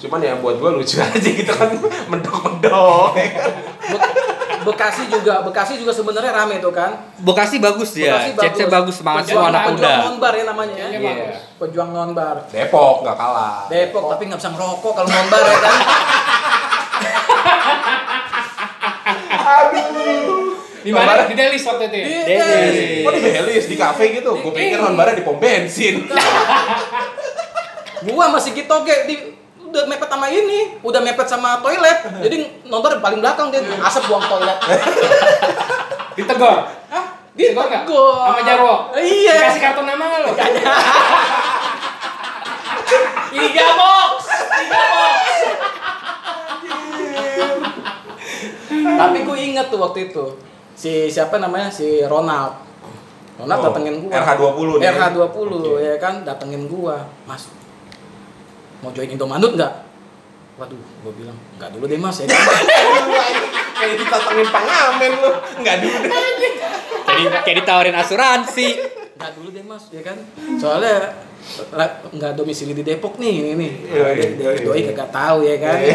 A: Cuman ya buat gua lucu *laughs* aja gitu kan mendok-mendok. ya kan.
B: Be- Bekasi juga, Bekasi juga sebenarnya rame tuh kan.
E: Bekasi bagus dia.
B: Bekasi
E: Cece Iya, bagus semangat
B: Pejuang-
E: semua anak muda.
B: Pejuang nonbar ya namanya ya.
C: Iya.
E: Bagus.
B: Pejuang nonbar.
A: Depok nggak kalah.
B: Depok tapi nggak bisa ngerokok kalau nonbar ya
E: *laughs*
B: kan.
C: Di mana? Di Delis waktu itu ya?
E: Iya.
B: Iya.
E: Delis.
A: Kok di Belis di kafe gitu? Gue pikir nonbarnya di pom bensin.
B: Gua masih gitoge di udah mepet sama ini, udah mepet sama toilet. Jadi nonton paling belakang dia asap buang toilet.
C: Ditegor.
B: Hah?
C: Ditegur nggak?
B: Ditegur.
C: Sama Jarwo.
B: Gitu. Iya.
C: Kasih kartu nama nggak lo? *laughs* Tiga box. Tiga box.
B: Tapi gue inget tuh waktu itu si siapa namanya si Ronald. Ronald
A: Oh,
B: datengin gua.
A: RH20 nih.
B: RH20 ya kan datengin gua. Mas. Mau join Indomandut nggak? Waduh, gua bilang nggak dulu deh mas ya. kan?" *laughs*
A: Kayak ditatengin pengamen lu. Enggak dulu deh.
E: Jadi kayak ditawarin asuransi.
B: Nggak dulu deh mas ya kan. Soalnya la- nggak domisili di Depok nih ini nih.
A: Iya, iya, iya,
B: Doi doi
A: iya.
B: kagak tahu ya kan. Ya.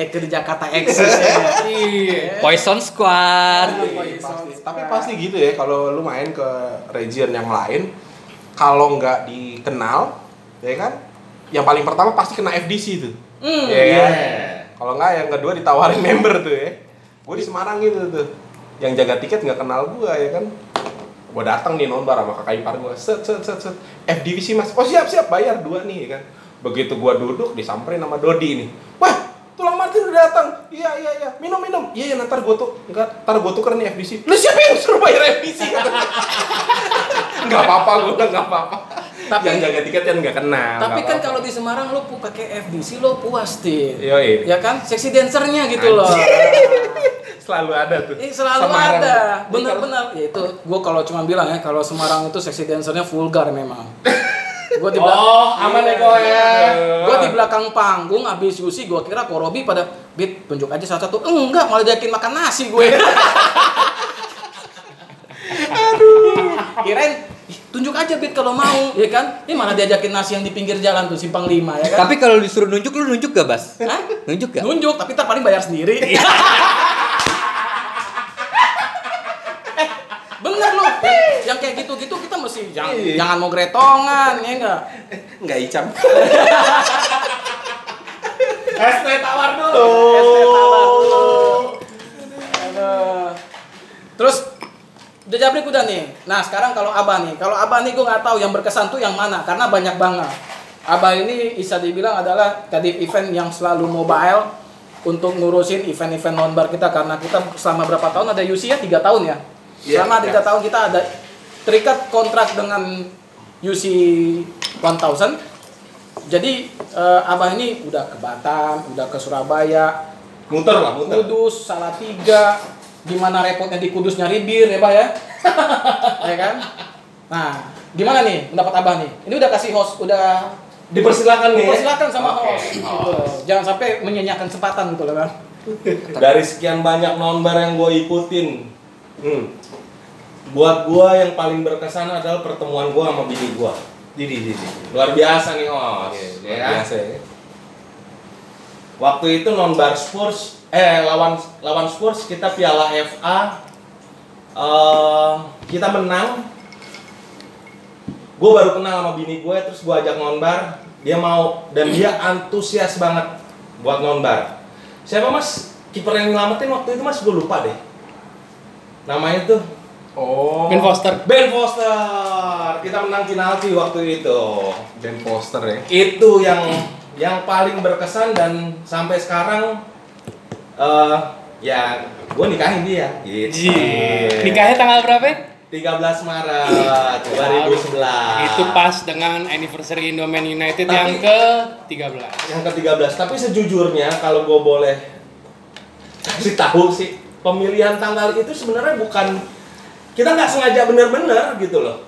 B: Eh ke di Jakarta eksis ya.
C: Iya.
E: Poison Squad.
A: Pasti. Tapi pasti gitu ya kalau lu main ke region yang lain kalau nggak dikenal ya kan yang paling pertama pasti kena FDC tuh.
B: Hmm.
D: Iya.
A: ya kan? Kalau nggak yang kedua ditawarin *laughs* member tuh ya. Gue di Semarang gitu tuh. Yang jaga tiket nggak kenal gue ya kan. Gue datang nih nonbar sama kakak ipar gue. Set set set set. FDVC mas. Oh siap siap bayar dua nih ya kan. Begitu gue duduk disamperin sama Dodi nih. Wah tulang mati udah datang. Iya iya iya. Minum minum. Iya iya ntar gue tuh nggak ntar gue tuker nih FDC. Lu siapa yang suruh bayar FDC? *laughs* Nggak apa-apa gue bilang nggak apa-apa.
B: Tapi-
A: yang jaga tiket kan nggak kenal.
B: Tapi
A: nggak
B: kan
A: apa-apa.
B: kalau di Semarang lo pakai FDC lo puas Tin.
A: Yoi.
B: Ya kan? Seksi dancernya gitu loh.
A: selalu ada tuh.
B: Ini selalu
A: Semarang.
B: ada.
C: Iya,
B: Benar-benar ya itu gua kalau cuma bilang ya kalau Semarang itu seksi dancernya vulgar memang. Gua di belakang
C: Oh, aman ya kok ya.
B: Gua di belakang panggung habis Yusi gua kira Korobi pada bit tunjuk aja salah satu. Enggak, malah diakin makan nasi
C: *laughs*
B: gue. Aduh. Kirain "Ih, tunjuk aja bit kalau mau, ya kan? Ini malah diajakin nasi yang di pinggir jalan tuh simpang 5 ya kan?
E: Tapi kalau disuruh nunjuk lu nunjuk gak, Bas?
B: Hah?
E: Nunjuk gak?
B: Nunjuk, tapi ntar paling bayar sendiri. eh, Eh, bener lu. Yang kayak gitu-gitu kita mesti jangan,
A: Iya.
B: jangan mau gretongan, ya enggak?
A: Nggak icam.
C: Hashtag tawar dulu.
B: Terus udah jabrik udah nih. Nah sekarang kalau abah nih, kalau abah nih gue nggak tahu yang berkesan tuh yang mana karena banyak banget. Abah ini bisa dibilang adalah tadi event yang selalu mobile untuk ngurusin event-event nonbar kita karena kita selama berapa tahun ada UC ya tiga tahun ya.
A: Iya,
B: selama tiga
A: iya.
B: tahun kita ada terikat kontrak dengan UC 1000 jadi eh, abah ini udah ke Batam, udah ke Surabaya,
A: Muter lah, muter.
B: Kudus, Salatiga, gimana repotnya di Kudus nyari bir ya, Bah ya? *laughs* ya kan? Nah, gimana nih pendapat Abah nih? Ini udah kasih host, udah
D: Dipersilakan nih. ya.
B: dipersilakan sama
D: Oke,
B: host. gitu. Jangan sampai menyanyiakan kesempatan gitu loh, Bang.
D: Dari sekian banyak nonbar yang gue ikutin,
A: Hmm.
D: buat gue yang paling berkesan adalah pertemuan gue sama bini gue.
A: Jadi, jadi.
D: Luar biasa nih, Os. ya kan?
A: Biasa ya.
D: Waktu itu nonbar Spurs, eh lawan lawan Spurs kita Piala FA, eh kita menang. Gue baru kenal sama bini gue, terus gue ajak nonbar. Dia mau dan dia antusias banget buat nonbar. Siapa mas? Kiper yang nyelamatin waktu itu mas gue lupa deh. Namanya tuh
A: Oh.
C: Ben Foster.
D: Ben Foster. Kita menang penalti waktu itu
A: Ben Foster ya.
D: itu yang yang paling berkesan dan sampai sekarang eh ya gue nikahin dia gitu.
C: Nikahnya tanggal berapa? ya?
D: 13 Maret 2011
C: Itu pas dengan anniversary Indomain United
D: Tapi-
C: yang ke-13.
D: yang ke-13 tapi sejujurnya kalau gue boleh kasih tahu sih pemilihan tanggal itu sebenarnya bukan kita nggak sengaja bener-bener gitu loh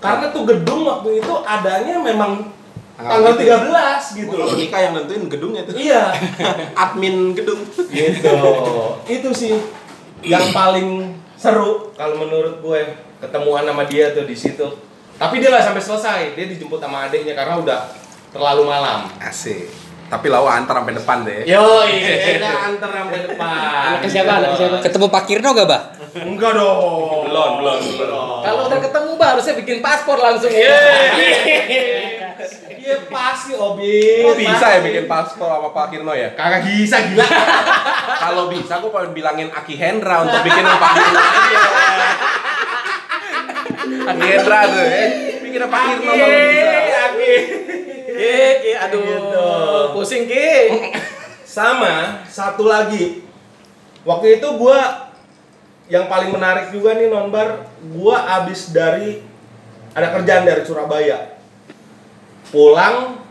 D: karena tuh gedung waktu itu adanya memang
A: Tanggal
D: tanggal 13 gitu
A: Kalau
D: loh
A: nikah yang nentuin gedungnya tuh.
D: iya
A: *laughs* Admin gedung.
D: gitu itu sih yang paling seru kalau menurut gue ketemuan sama dia tuh di situ tapi dia nggak sampai selesai dia dijemput sama adiknya karena udah terlalu malam
A: Asik. Tapi lawa antar sampai depan deh.
D: yo kita antar sampai depan
C: Anak siapa, anak siapa?
E: Ketemu Pak Kirno gak, Bah?
D: enggak dong
A: Belum, belum, belum.
D: Oh.
B: Kalau udah ketemu Bah harusnya bikin paspor langsung ya.
D: iya pasti obi
A: Oh, bisa ya bikin paspor sama Pak Kirno ya?
D: kagak bisa
C: *laughs*
D: gila
A: Kalau bisa, gue pengen bilangin Aki Hendra untuk bikin Pak Kirno aja. Aki Hendra tuh ya. Bikin Pak Kirno kalau bisa.
B: Ki,
C: Iya,
B: Ki, aduh.
D: Gitu.
B: Pusing Ki.
D: sama satu lagi waktu itu gua yang paling menarik juga nih nonbar gua abis dari ada kerjaan dari Surabaya pulang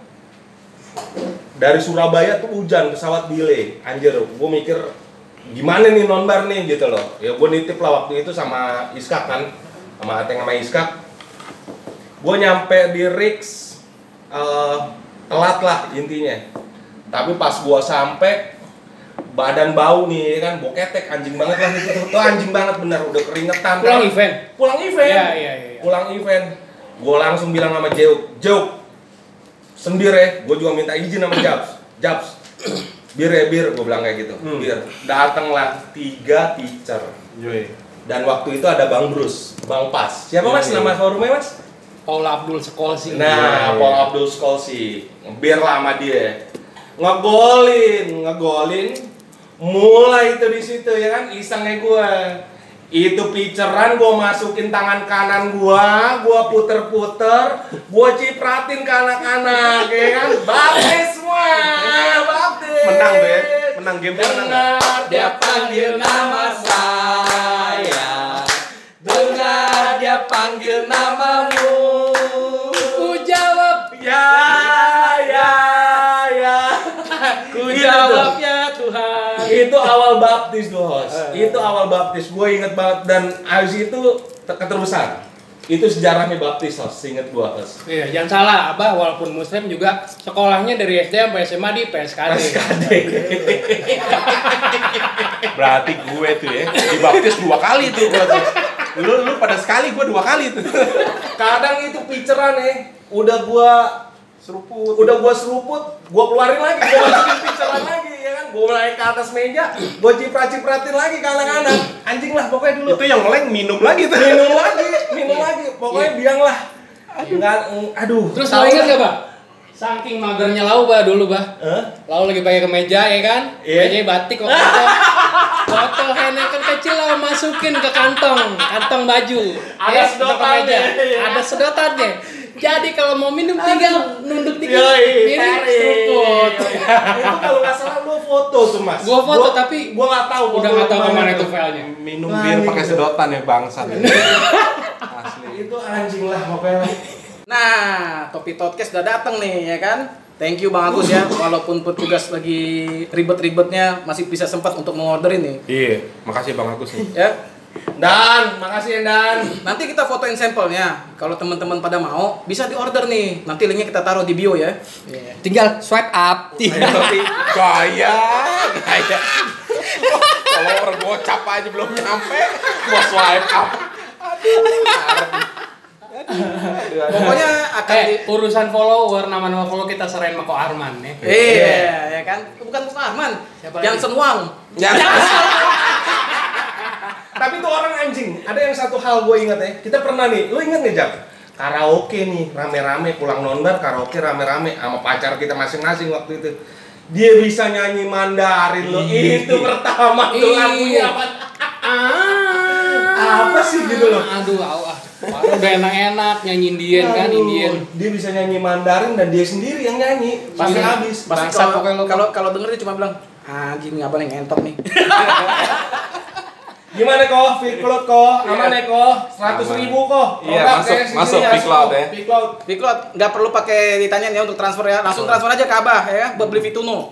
D: dari Surabaya tuh hujan pesawat delay anjir gua mikir gimana nih nonbar nih gitu loh ya gua nitip lah waktu itu sama Iskak kan sama Ateng sama Iskak gua nyampe di Rix eh, telat lah intinya tapi pas gua sampai badan bau nih ya kan boketek anjing banget lah itu tuh anjing banget bener udah keringetan
C: Pulang event.
D: pulang event
C: Iya, iya, iya, iya.
D: pulang event gue langsung bilang sama Jeuk Jeuk sendiri ya gue juga minta izin sama Jabs Jabs *clears throat* bir ya bir gue bilang kayak gitu
A: Hmm.
D: bir datanglah tiga teacher
A: Yoi.
D: dan waktu itu ada Bang Bruce Bang Pas siapa
A: Iya,
D: mas
A: iya.
D: nama forumnya mas
C: Paula Abdul sekol sih.
A: Iya,
D: Nah,
A: iya.
D: Paul Abdul Skolsi ngebir lah sama dia. Ngegolin, ngegolin. Mulai itu di situ ya kan isengnya gua. Itu piceran gua masukin tangan kanan gua, gua puter-puter, gua cipratin ke anak-anak ya kan. Baptis semua, baptis.
A: Menang tuh ya, menang game tuh menang.
D: Dengar dia panggil nama saya. Dengar dia panggil namamu.
C: Ku jawab,
D: Ya, ya, ya.
C: ku
D: Gitu
C: jawab ya Tuhan.
D: Itu awal baptis tuh, Hos. Itu awal baptis. Gue inget banget dan abis itu te- keterusan. Itu sejarahnya baptis, Hos. Inget gue, Hos.
C: Iya, jangan salah, Abah walaupun muslim juga sekolahnya dari SD sampai SMA di PSKD.
D: SKD.
A: Berarti gue tuh ya dibaptis dua kali tuh gue tuh. Lu lu pada sekali gue dua kali tuh.
D: Kadang itu piceran eh. Udah gua
A: Seruput.
D: udah gua seruput, gua keluarin lagi, gua masukin piceran lagi ya kan. Gua naik ke atas
A: Iya.
D: meja, gua ciprat-cipratin lagi ke anak-anak. Anjing lah pokoknya dulu.
A: Itu yang meleng minum lagi tuh.
D: minum lagi, minum lagi. Pokoknya biang lah. Aduh. aduh.
C: Terus
D: Tahu
C: lo ingat
D: lah.
C: gak, Bah? Saking magernya lau, Bah, dulu, Bah.
D: Hah?
C: Lau lagi pakai kemeja, ya kan?
D: Iya.
C: Kemejanya batik waktu itu.
D: *laughs*
C: Botol heneken ya, nah, kan kecil lau masukin ke kantong, kantong baju. Ya,
D: Ada
C: ke
D: sedotannya,
C: kemeja.
D: iya.
C: Ada sedotannya. Jadi kalau mau minum tinggal nunduk dikit,
D: Yoi,
C: minum
D: tarik.
C: seruput.
D: itu kalau nggak salah lu foto tuh mas.
C: Gua foto, tapi
D: gua nggak tahu.
C: Udah
D: foto
C: nggak tahu
D: lu
C: kemana
D: tuh.
C: itu filenya.
A: Minum bir pakai sedotan ya bangsat. Asli.
D: Itu anjing lah pokoknya.
B: Nah, topi podcast udah dateng nih ya kan. Thank you Bang Agus ya, walaupun petugas lagi ribet-ribetnya masih bisa sempat untuk mengorderin nih.
A: Iya, makasih Bang Agus nih.
B: Ya,
D: Dan, makasih Dan.
B: nanti kita fotoin sampelnya. Kalau teman-teman pada mau, bisa diorder nih. Nanti linknya kita taruh di bio ya. Iya.
E: Tinggal swipe up. Tinggal.
A: Gaya, gaya. Follower gocap aja belum nyampe, mau swipe up.
B: Pokoknya
D: Kan
B: akan di
C: Eh, urusan follower, nama-nama follow kita serain sama Ko Arman, ya.
B: Iya, ya kan? Bukan Bung Arman.
C: Siapa lagi?
B: Jansen Wang.
D: Tapi tuh orang anjing. Ada yang satu hal gue ingat ya. Kita pernah nih. Lu inget nggak Jam? Karaoke nih, rame-rame pulang nonbar karaoke rame-rame sama pacar kita masing-masing waktu itu. Dia bisa nyanyi Mandarin loh. Itu pertama tuh
C: Iya.
D: lagunya apa?
C: Ah.
D: Apa sih gitu loh?
C: Aduh, au, ah. Parah, udah enak-enak nyanyi Indian kan,
D: Aduh,
C: Indian.
D: Dia bisa nyanyi Mandarin dan dia sendiri yang nyanyi. Pasti
C: Iya.
D: habis.
B: Pasti
C: Bangsat
B: kalau
C: pokoknya lo.
B: kalau kalau denger dia cuma bilang, "Ah, anjing apa nih ngentot nih.
D: Gimana kok? Fit cloud kok? Aman ya kok? 100 ribu kok?
A: Iya,
D: Produk
A: masuk-
D: kayak sini,
A: masuk
D: asli
A: Fit Cloud
D: kok.
A: ya.
D: Fit Cloud.
B: Piklot nggak perlu pakai ditanya ya untuk transfer ya. Langsung transfer aja ke Abah ya, buat beli Vituno.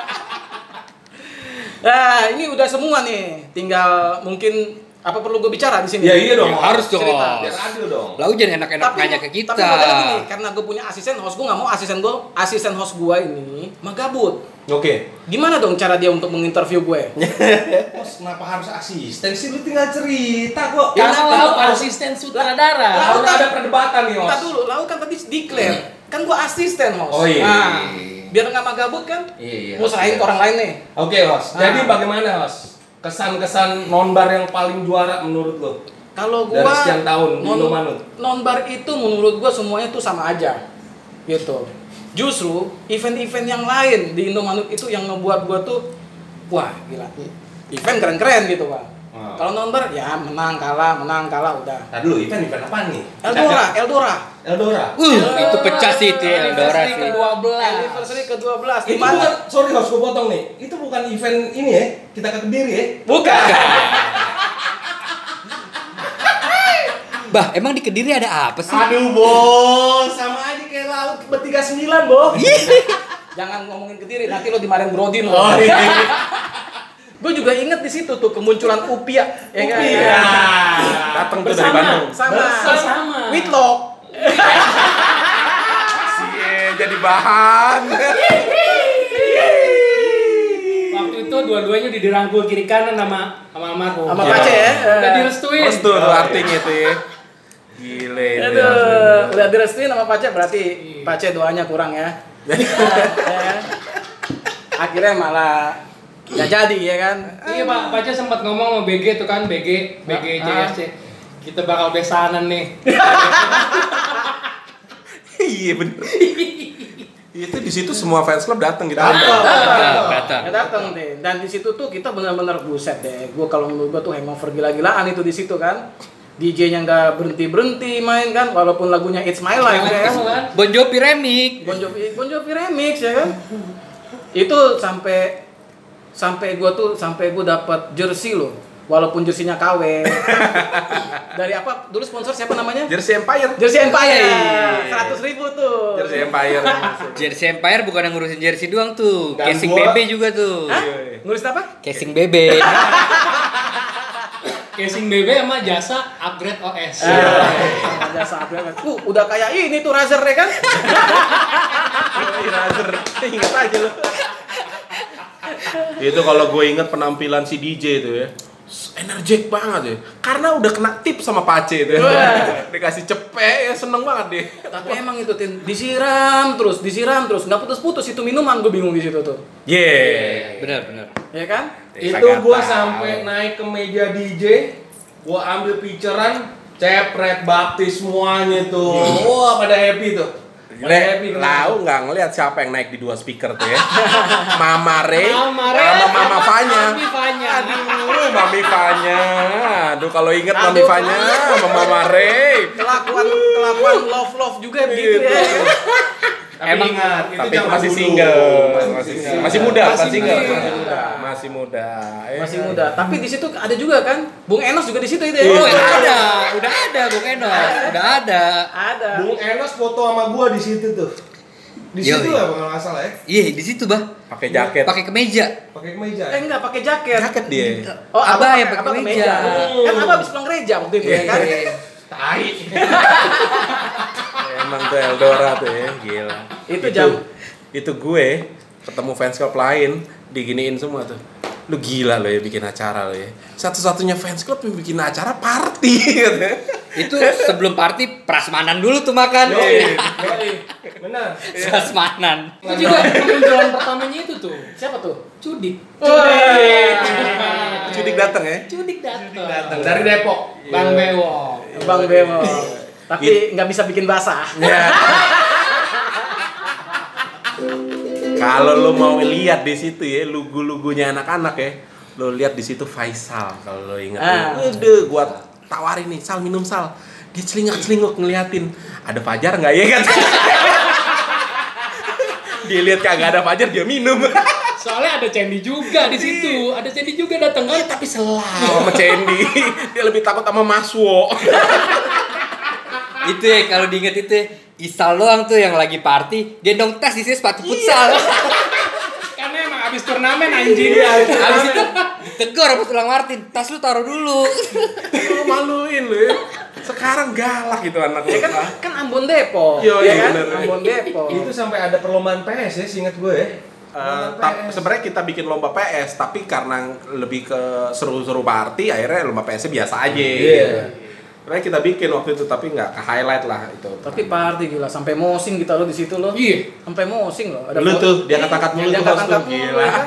C: *laughs*
B: nah, ini udah semua nih. Tinggal mungkin apa perlu gue bicara di sini?
D: Ya iya dong.
E: Ya, harus dong.
B: Cerita.
D: Biar adil dong.
E: Lalu jangan enak-enak nanya ke kita.
B: Tapi modelnya gini, karena gue punya asisten host, gue nggak mau asisten gue, asisten host gue ini magabut.
A: Oke.
B: Gimana dong cara dia untuk menginterview gue?
D: *laughs* Ya, Bos, kenapa harus asisten sih? Lu tinggal cerita kok.
C: Karena
B: Karena
C: lo
B: lo-
C: asisten sutradara.
D: Harus ada perdebatan nih, Os.
B: Kita dulu, lalu kan tadi declare. Kan gue asisten host.
D: Oh, iya.
B: Nah, biar nggak magabut kan?
D: Iya, iya.
B: Mau serahin ke orang lain nih.
D: Oke, Os. Jadi bagaimana, Os? Kesan-kesan nonbar yang paling juara menurut lo?
B: Kalau gua
D: Dari sekian tahun di Indomaret.
B: nonbar itu menurut gua semuanya tuh sama aja. Gitu. Justru event-event yang lain di Indomanut itu yang ngebuat gua tuh wah gila. Event keren-keren gitu, Pak.
D: Oh.
B: Kalau nonbar ya menang kalah, menang kalah udah.
D: Nah dulu event event apa nih?
B: Eldora, Eldora.
D: Eldora.
E: Uh, itu pecah sih itu ya, Eldora
C: Anniversary
E: sih.
C: ke-12.
B: Anniversary ke-12 di
D: Itu
B: mana?
D: bukan- sorry harus gue potong nih. Itu bukan event ini ya. Kita ke kediri ya.
B: Bukan.
E: Bah, emang di Kediri ada apa sih?
D: Aduh bos, sama aja kayak laut bertiga sembilan bos.
B: *laughs* Jangan ngomongin kediri, nanti lo dimarahin Brodin lo.
D: Oh
B: *laughs*
D: iya.
B: Gue juga inget di situ tuh kemunculan Upia, ya kan?
D: Iya.
A: Datang tuh dari Bandung.
C: Bersama.
B: Sama.
C: Bersama.
B: Whitlock.
A: Cie, jadi bahan.
C: Waktu itu dua-duanya udah dirangkul kiri kanan sama sama almarhum.
B: Sama
A: Iya.
B: Pace ya.
C: Udah
B: Eh,
C: direstuin.
A: Terus tuh artinya itu ya. Gile itu.
B: Aduh, udah direstuin sama Pace berarti
C: Iya.
B: Pace doanya kurang ya. Ya kan? *laughs* Akhirnya malah nggak jadi ya kan.
C: Iya Pak Pace sempat ngomong sama BG tuh kan BG BG
B: Ah.
C: JSC. Kita bakal besanan nih.
A: Iya bener. itu di situ semua fans club datang gitu.
E: Datang, datang.
B: Nggak datang deh. Dan di situ tuh kita benar-benar buset deh. Gue kalau menurut gue tuh hangover gila-gilaan itu di situ kan. DJ-nya nggak berhenti berhenti main kan, walaupun lagunya It's My Life ya kan.
C: Kan?
E: Bon Jovi remix.
B: Bon Jovi, Bon Jovi remix ya kan. Itu sampai sampai gua tuh sampai gua dapat jersey loh. Walaupun jersinya
A: *laughs*
B: KW. Dari apa? Dulu sponsor siapa namanya?
A: Jersey Empire.
B: Jersey
A: Iya,
B: Empire. 100 ribu tuh.
A: Jersey Empire.
D: *laughs*
E: Jersey Empire bukan yang ngurusin jersey doang tuh,
D: Dan
E: casing
D: gua-
E: BB juga tuh.
B: Hah?
A: Iya,
B: Nulis apa?
E: Casing BB.
C: Casing BB sama jasa upgrade OS.
B: Ah, Jasa upgrade kan. Uh, udah kayak ini tuh Razer ya kan?
A: Razer. Ingat aja lu. itu kalau gue inget penampilan si DJ itu ya enerjik banget ya karena udah kena tip sama Pace itu ya.
B: Wah.
A: *laughs* dikasih cepet ya seneng banget deh
B: Tapi emang itu Tin, disiram terus, disiram terus, nggak putus-putus itu minuman gue bingung di situ tuh.
A: yeah
E: bener, bener.
B: Ya kan?
D: Itu gua sampai naik ke meja DJ, gua ambil picturean, cepret baptis semuanya tuh. Wah pada happy tuh. Pada happy
A: Re,
D: kenapa?
A: lau nggak ngelihat siapa yang naik di dua speaker
B: *laughs*
A: tuh ya Mama Re
C: Mama Re,
A: sama Mama Fanya
C: Mami Fanya.
A: Aduh Mami Fanya Aduh kalau inget Mami
B: Aduh.
A: Fanya sama Mama Re
B: Kelakuan kelakuan love love juga begitu
A: Gitu.
B: ya.
D: Tapi
E: Emang-
D: ingat, itu
A: Tapi itu
D: zaman
A: masih
D: dulu.
A: single
D: Masih
A: Masih,
D: single.
A: masih muda
C: Masih
A: Masih single
C: muda.
A: Masih muda Masih muda Eh.
B: masih muda tapi di situ ada juga kan bung enos juga di situ itu ya
A: Iya.
E: Oh, ya ada, udah ada Bung Enos, udah ada.
B: ada
D: Bung Enos foto sama gua di situ tuh. Di
E: Yoi.
D: situ lah kalau nggak salah ya.
E: Iya, di situ, Bah.
A: Pakai jaket
E: Pakai kemeja.
D: Pakai kemeja.
B: eh enggak pakai jaket
A: Jaket dia
B: oh abah
E: Abah
B: pakai
E: yang pakai
B: abah
E: meja.
B: kemeja kan abah habis pulang gereja waktu
A: Iya.
B: itu
E: Iya,
B: ya kan
D: Tai.
A: *laughs* Emang tuh Eldora tuh ya Gila
B: Itu jam-
A: Itu gue ketemu fans club lain diginiin semua tuh lu gila lo ya bikin acara lo ya satu-satunya fans club yang bikin acara party *laughs* gitu
E: Itu sebelum party prasmanan dulu tuh makan.
D: Yoi. Yoi. Benar.
E: Prasmanan.
C: Itu juga penjualan pertamanya itu tuh.
B: siapa tuh
C: Cudik.
A: Cudik datang ya
C: Cudik datang.
D: Datang dari Depok.
C: Bang Bewok.
A: Iya,
B: bang bemo
A: Gitu.
B: tapi nggak bisa bikin basah
A: Ya. Kalau lo mau lihat di situ ya lugu-lugunya anak-anak ya, lo lihat di situ Faisal kalau lo ingat.
B: Ah.
A: Udah, gua tawarin nih, sal minum sal. Dia celingak-celinguk ngeliatin, ada Fajar nggak ya kan? *laughs* dia lihat kagak ada Fajar dia minum. *laughs*
C: Soalnya ada Cendi juga di situ. Ada Cendi juga datang kan Iya. tapi selang.
A: Sama Cendi, dia lebih takut sama Maswo. *laughs*
E: Itu ya kalau diinget itu ya, Isal doang tuh yang lagi party, gendong tas isinya sepatu
A: Iya.
E: futsal.
C: Karena emang abis turnamen anjing.
E: Habis itu ditegur sama tulang Martin, tas lu taruh dulu.
A: Lo maluin lo ya. Sekarang galak gitu anak
B: ya kan
A: lo.
B: kan Ambon Depok
A: Yo,
B: ya
A: iya,
B: kan
A: bener. Gitu.
B: Ambon Depok
D: Itu sampai ada perlombaan PS ya, seingat gue ya.
A: Eh,
D: Perlombaan
A: tap-
D: PS.
A: sebenarnya kita bikin lomba PS tapi karena lebih ke seru-seru party akhirnya lomba PS -nya biasa aja gitu.
D: Iya.
A: Sebenarnya kita bikin waktu itu tapi nggak ke highlight lah itu
B: tapi party gila sampai mosing kita lo di situ lo
C: Iya.
B: sampai mosing lo
A: Lu tuh, diangkat-angkat mulu tuh, host tuh. Gila.
B: gila ya
D: kan?
B: kan?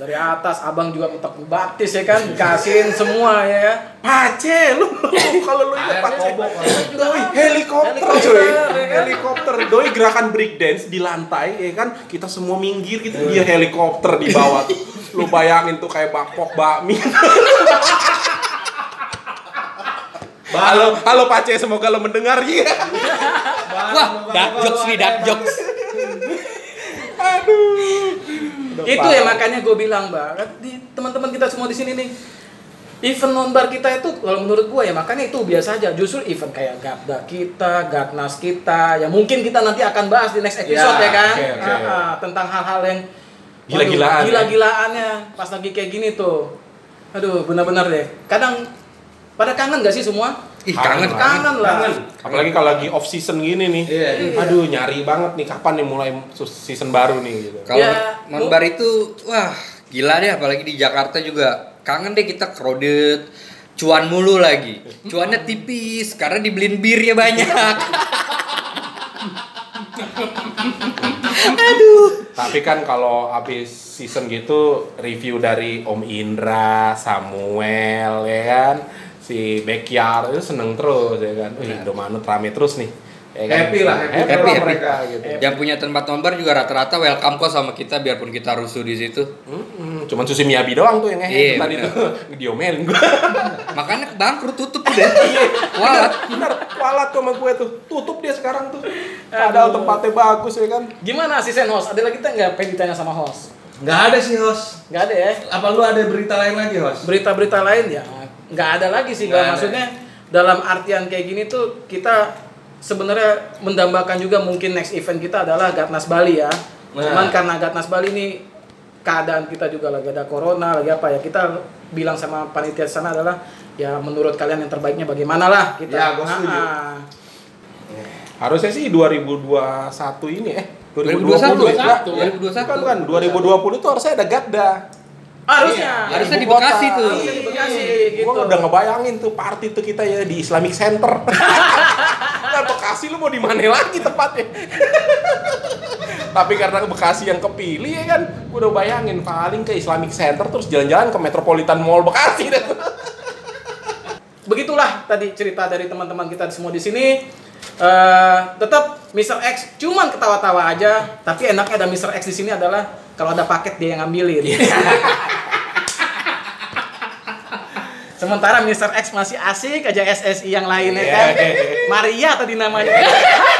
B: dari atas abang juga mentok baptis ya
A: *laughs*
B: kan kasihin semua ya
A: Iya.
B: kan
A: Pace lu *laughs* kalau lu ingat
D: Akhirnya
A: Pace
D: kobok,
A: Doi helikopter
B: Helikopter,
A: cuy
B: ya kan?
A: helikopter doi gerakan breakdance di lantai ya kan kita semua minggir gitu dia helikopter di bawah tuh. lu bayangin tuh kayak bakpok bakmi Halo, halo Pace, semoga lo mendengar. Iya.
E: Wah, dark jokes nih, dark jokes.
B: itu ya makanya gue bilang banget di teman-teman kita semua di sini nih event nonbar kita itu kalau menurut gue ya makanya itu biasa aja justru event kayak Garda kita, Garnas kita ya mungkin kita nanti akan bahas di next episode
D: Ya,
B: ya, kan
D: oke, oke.
B: Ah, ah, tentang hal-hal yang waduh,
A: Gila-gilaan, ya.
B: gila-gilaannya pas lagi kayak gini tuh aduh benar-benar deh kadang pada kangen gak sih semua
E: Ih, kangen.
B: kangen lah
D: Kangen.
A: Apalagi kalau lagi off season gini nih.
D: Iya.
A: Aduh, nyari banget nih kapan nih mulai season baru nih gitu.
E: Kalau
B: Ya,
E: nonbar itu wah gila deh apalagi di Jakarta juga. Kangen deh kita crowded. Cuan mulu lagi. Cuannya tipis karena dibeliin birnya banyak.
A: *laughs* Tapi kan kalau habis season gitu review dari Om Indra, Samuel ya kan, si Backyard itu seneng terus ya kan. Wih, Indomanut rame terus nih. Ya kan?
D: Happy lah, happy,
A: happy,
E: happy,
A: lah
E: happy.
A: mereka gitu.
E: Yang punya tempat nonbar juga rata-rata welcome kok sama kita biarpun kita rusuh di situ.
A: Mm-mm, Cuman Susi Miyabi doang tuh yang ngehe tuh
E: Iya,
A: tadi
E: bener.
A: tuh *laughs* diomelin gue.
E: Makanya bangkrut tutup
A: *laughs*
E: udah. Walat.
A: Bener, kualat tuh sama gue tuh. Tutup dia sekarang tuh. Padahal tempatnya bagus ya kan.
B: gimana asisten host ada lagi kita nggak pengen ditanya sama host
D: Nggak ada sih host.
B: nggak ada ya
D: Apa lu ada berita lain lagi host?
B: berita-berita lain ya nggak ada lagi sih
D: Nah. Nggak
B: nggak
D: ada.
B: maksudnya dalam artian kayak gini tuh kita sebenarnya mendambakan juga mungkin next event kita adalah Gatnas Bali ya
D: Nah.
B: cuman karena Gatnas Bali ini keadaan kita juga lagi ada corona lagi apa ya kita bilang sama panitia di sana adalah ya menurut kalian yang terbaiknya bagaimana lah kita
D: Ya, gua setuju.
B: Ah, ah.
A: Harusnya sih 2021 ini eh
E: 2021
A: 2020 ya.
E: 2021.
A: Bukan, bukan. 2020 tuh harusnya ada Gadda.
B: harusnya
D: Iya,
E: Harusnya di
A: ibu kota.
E: Bekasi tuh.
B: harusnya di Bekasi gitu
A: Gua udah ngebayangin tuh party tuh kita ya di Islamic Center. nah, Bekasi lu mau di mana lagi tempatnya? Tapi karena Bekasi yang kepilih ya kan, gua udah bayangin paling ke Islamic Center terus jalan-jalan ke Metropolitan Mall Bekasi deh.
B: begitulah tadi cerita dari teman-teman kita semua di sini. Eh, tetap Mr. X cuman ketawa-tawa aja, tapi enaknya ada Mr. X di sini adalah kalau ada paket dia yang ngambilin. Sementara Mr. X masih asik aja SSI yang lain ya kan.
A: Yeah.
B: Maria tadi namanya.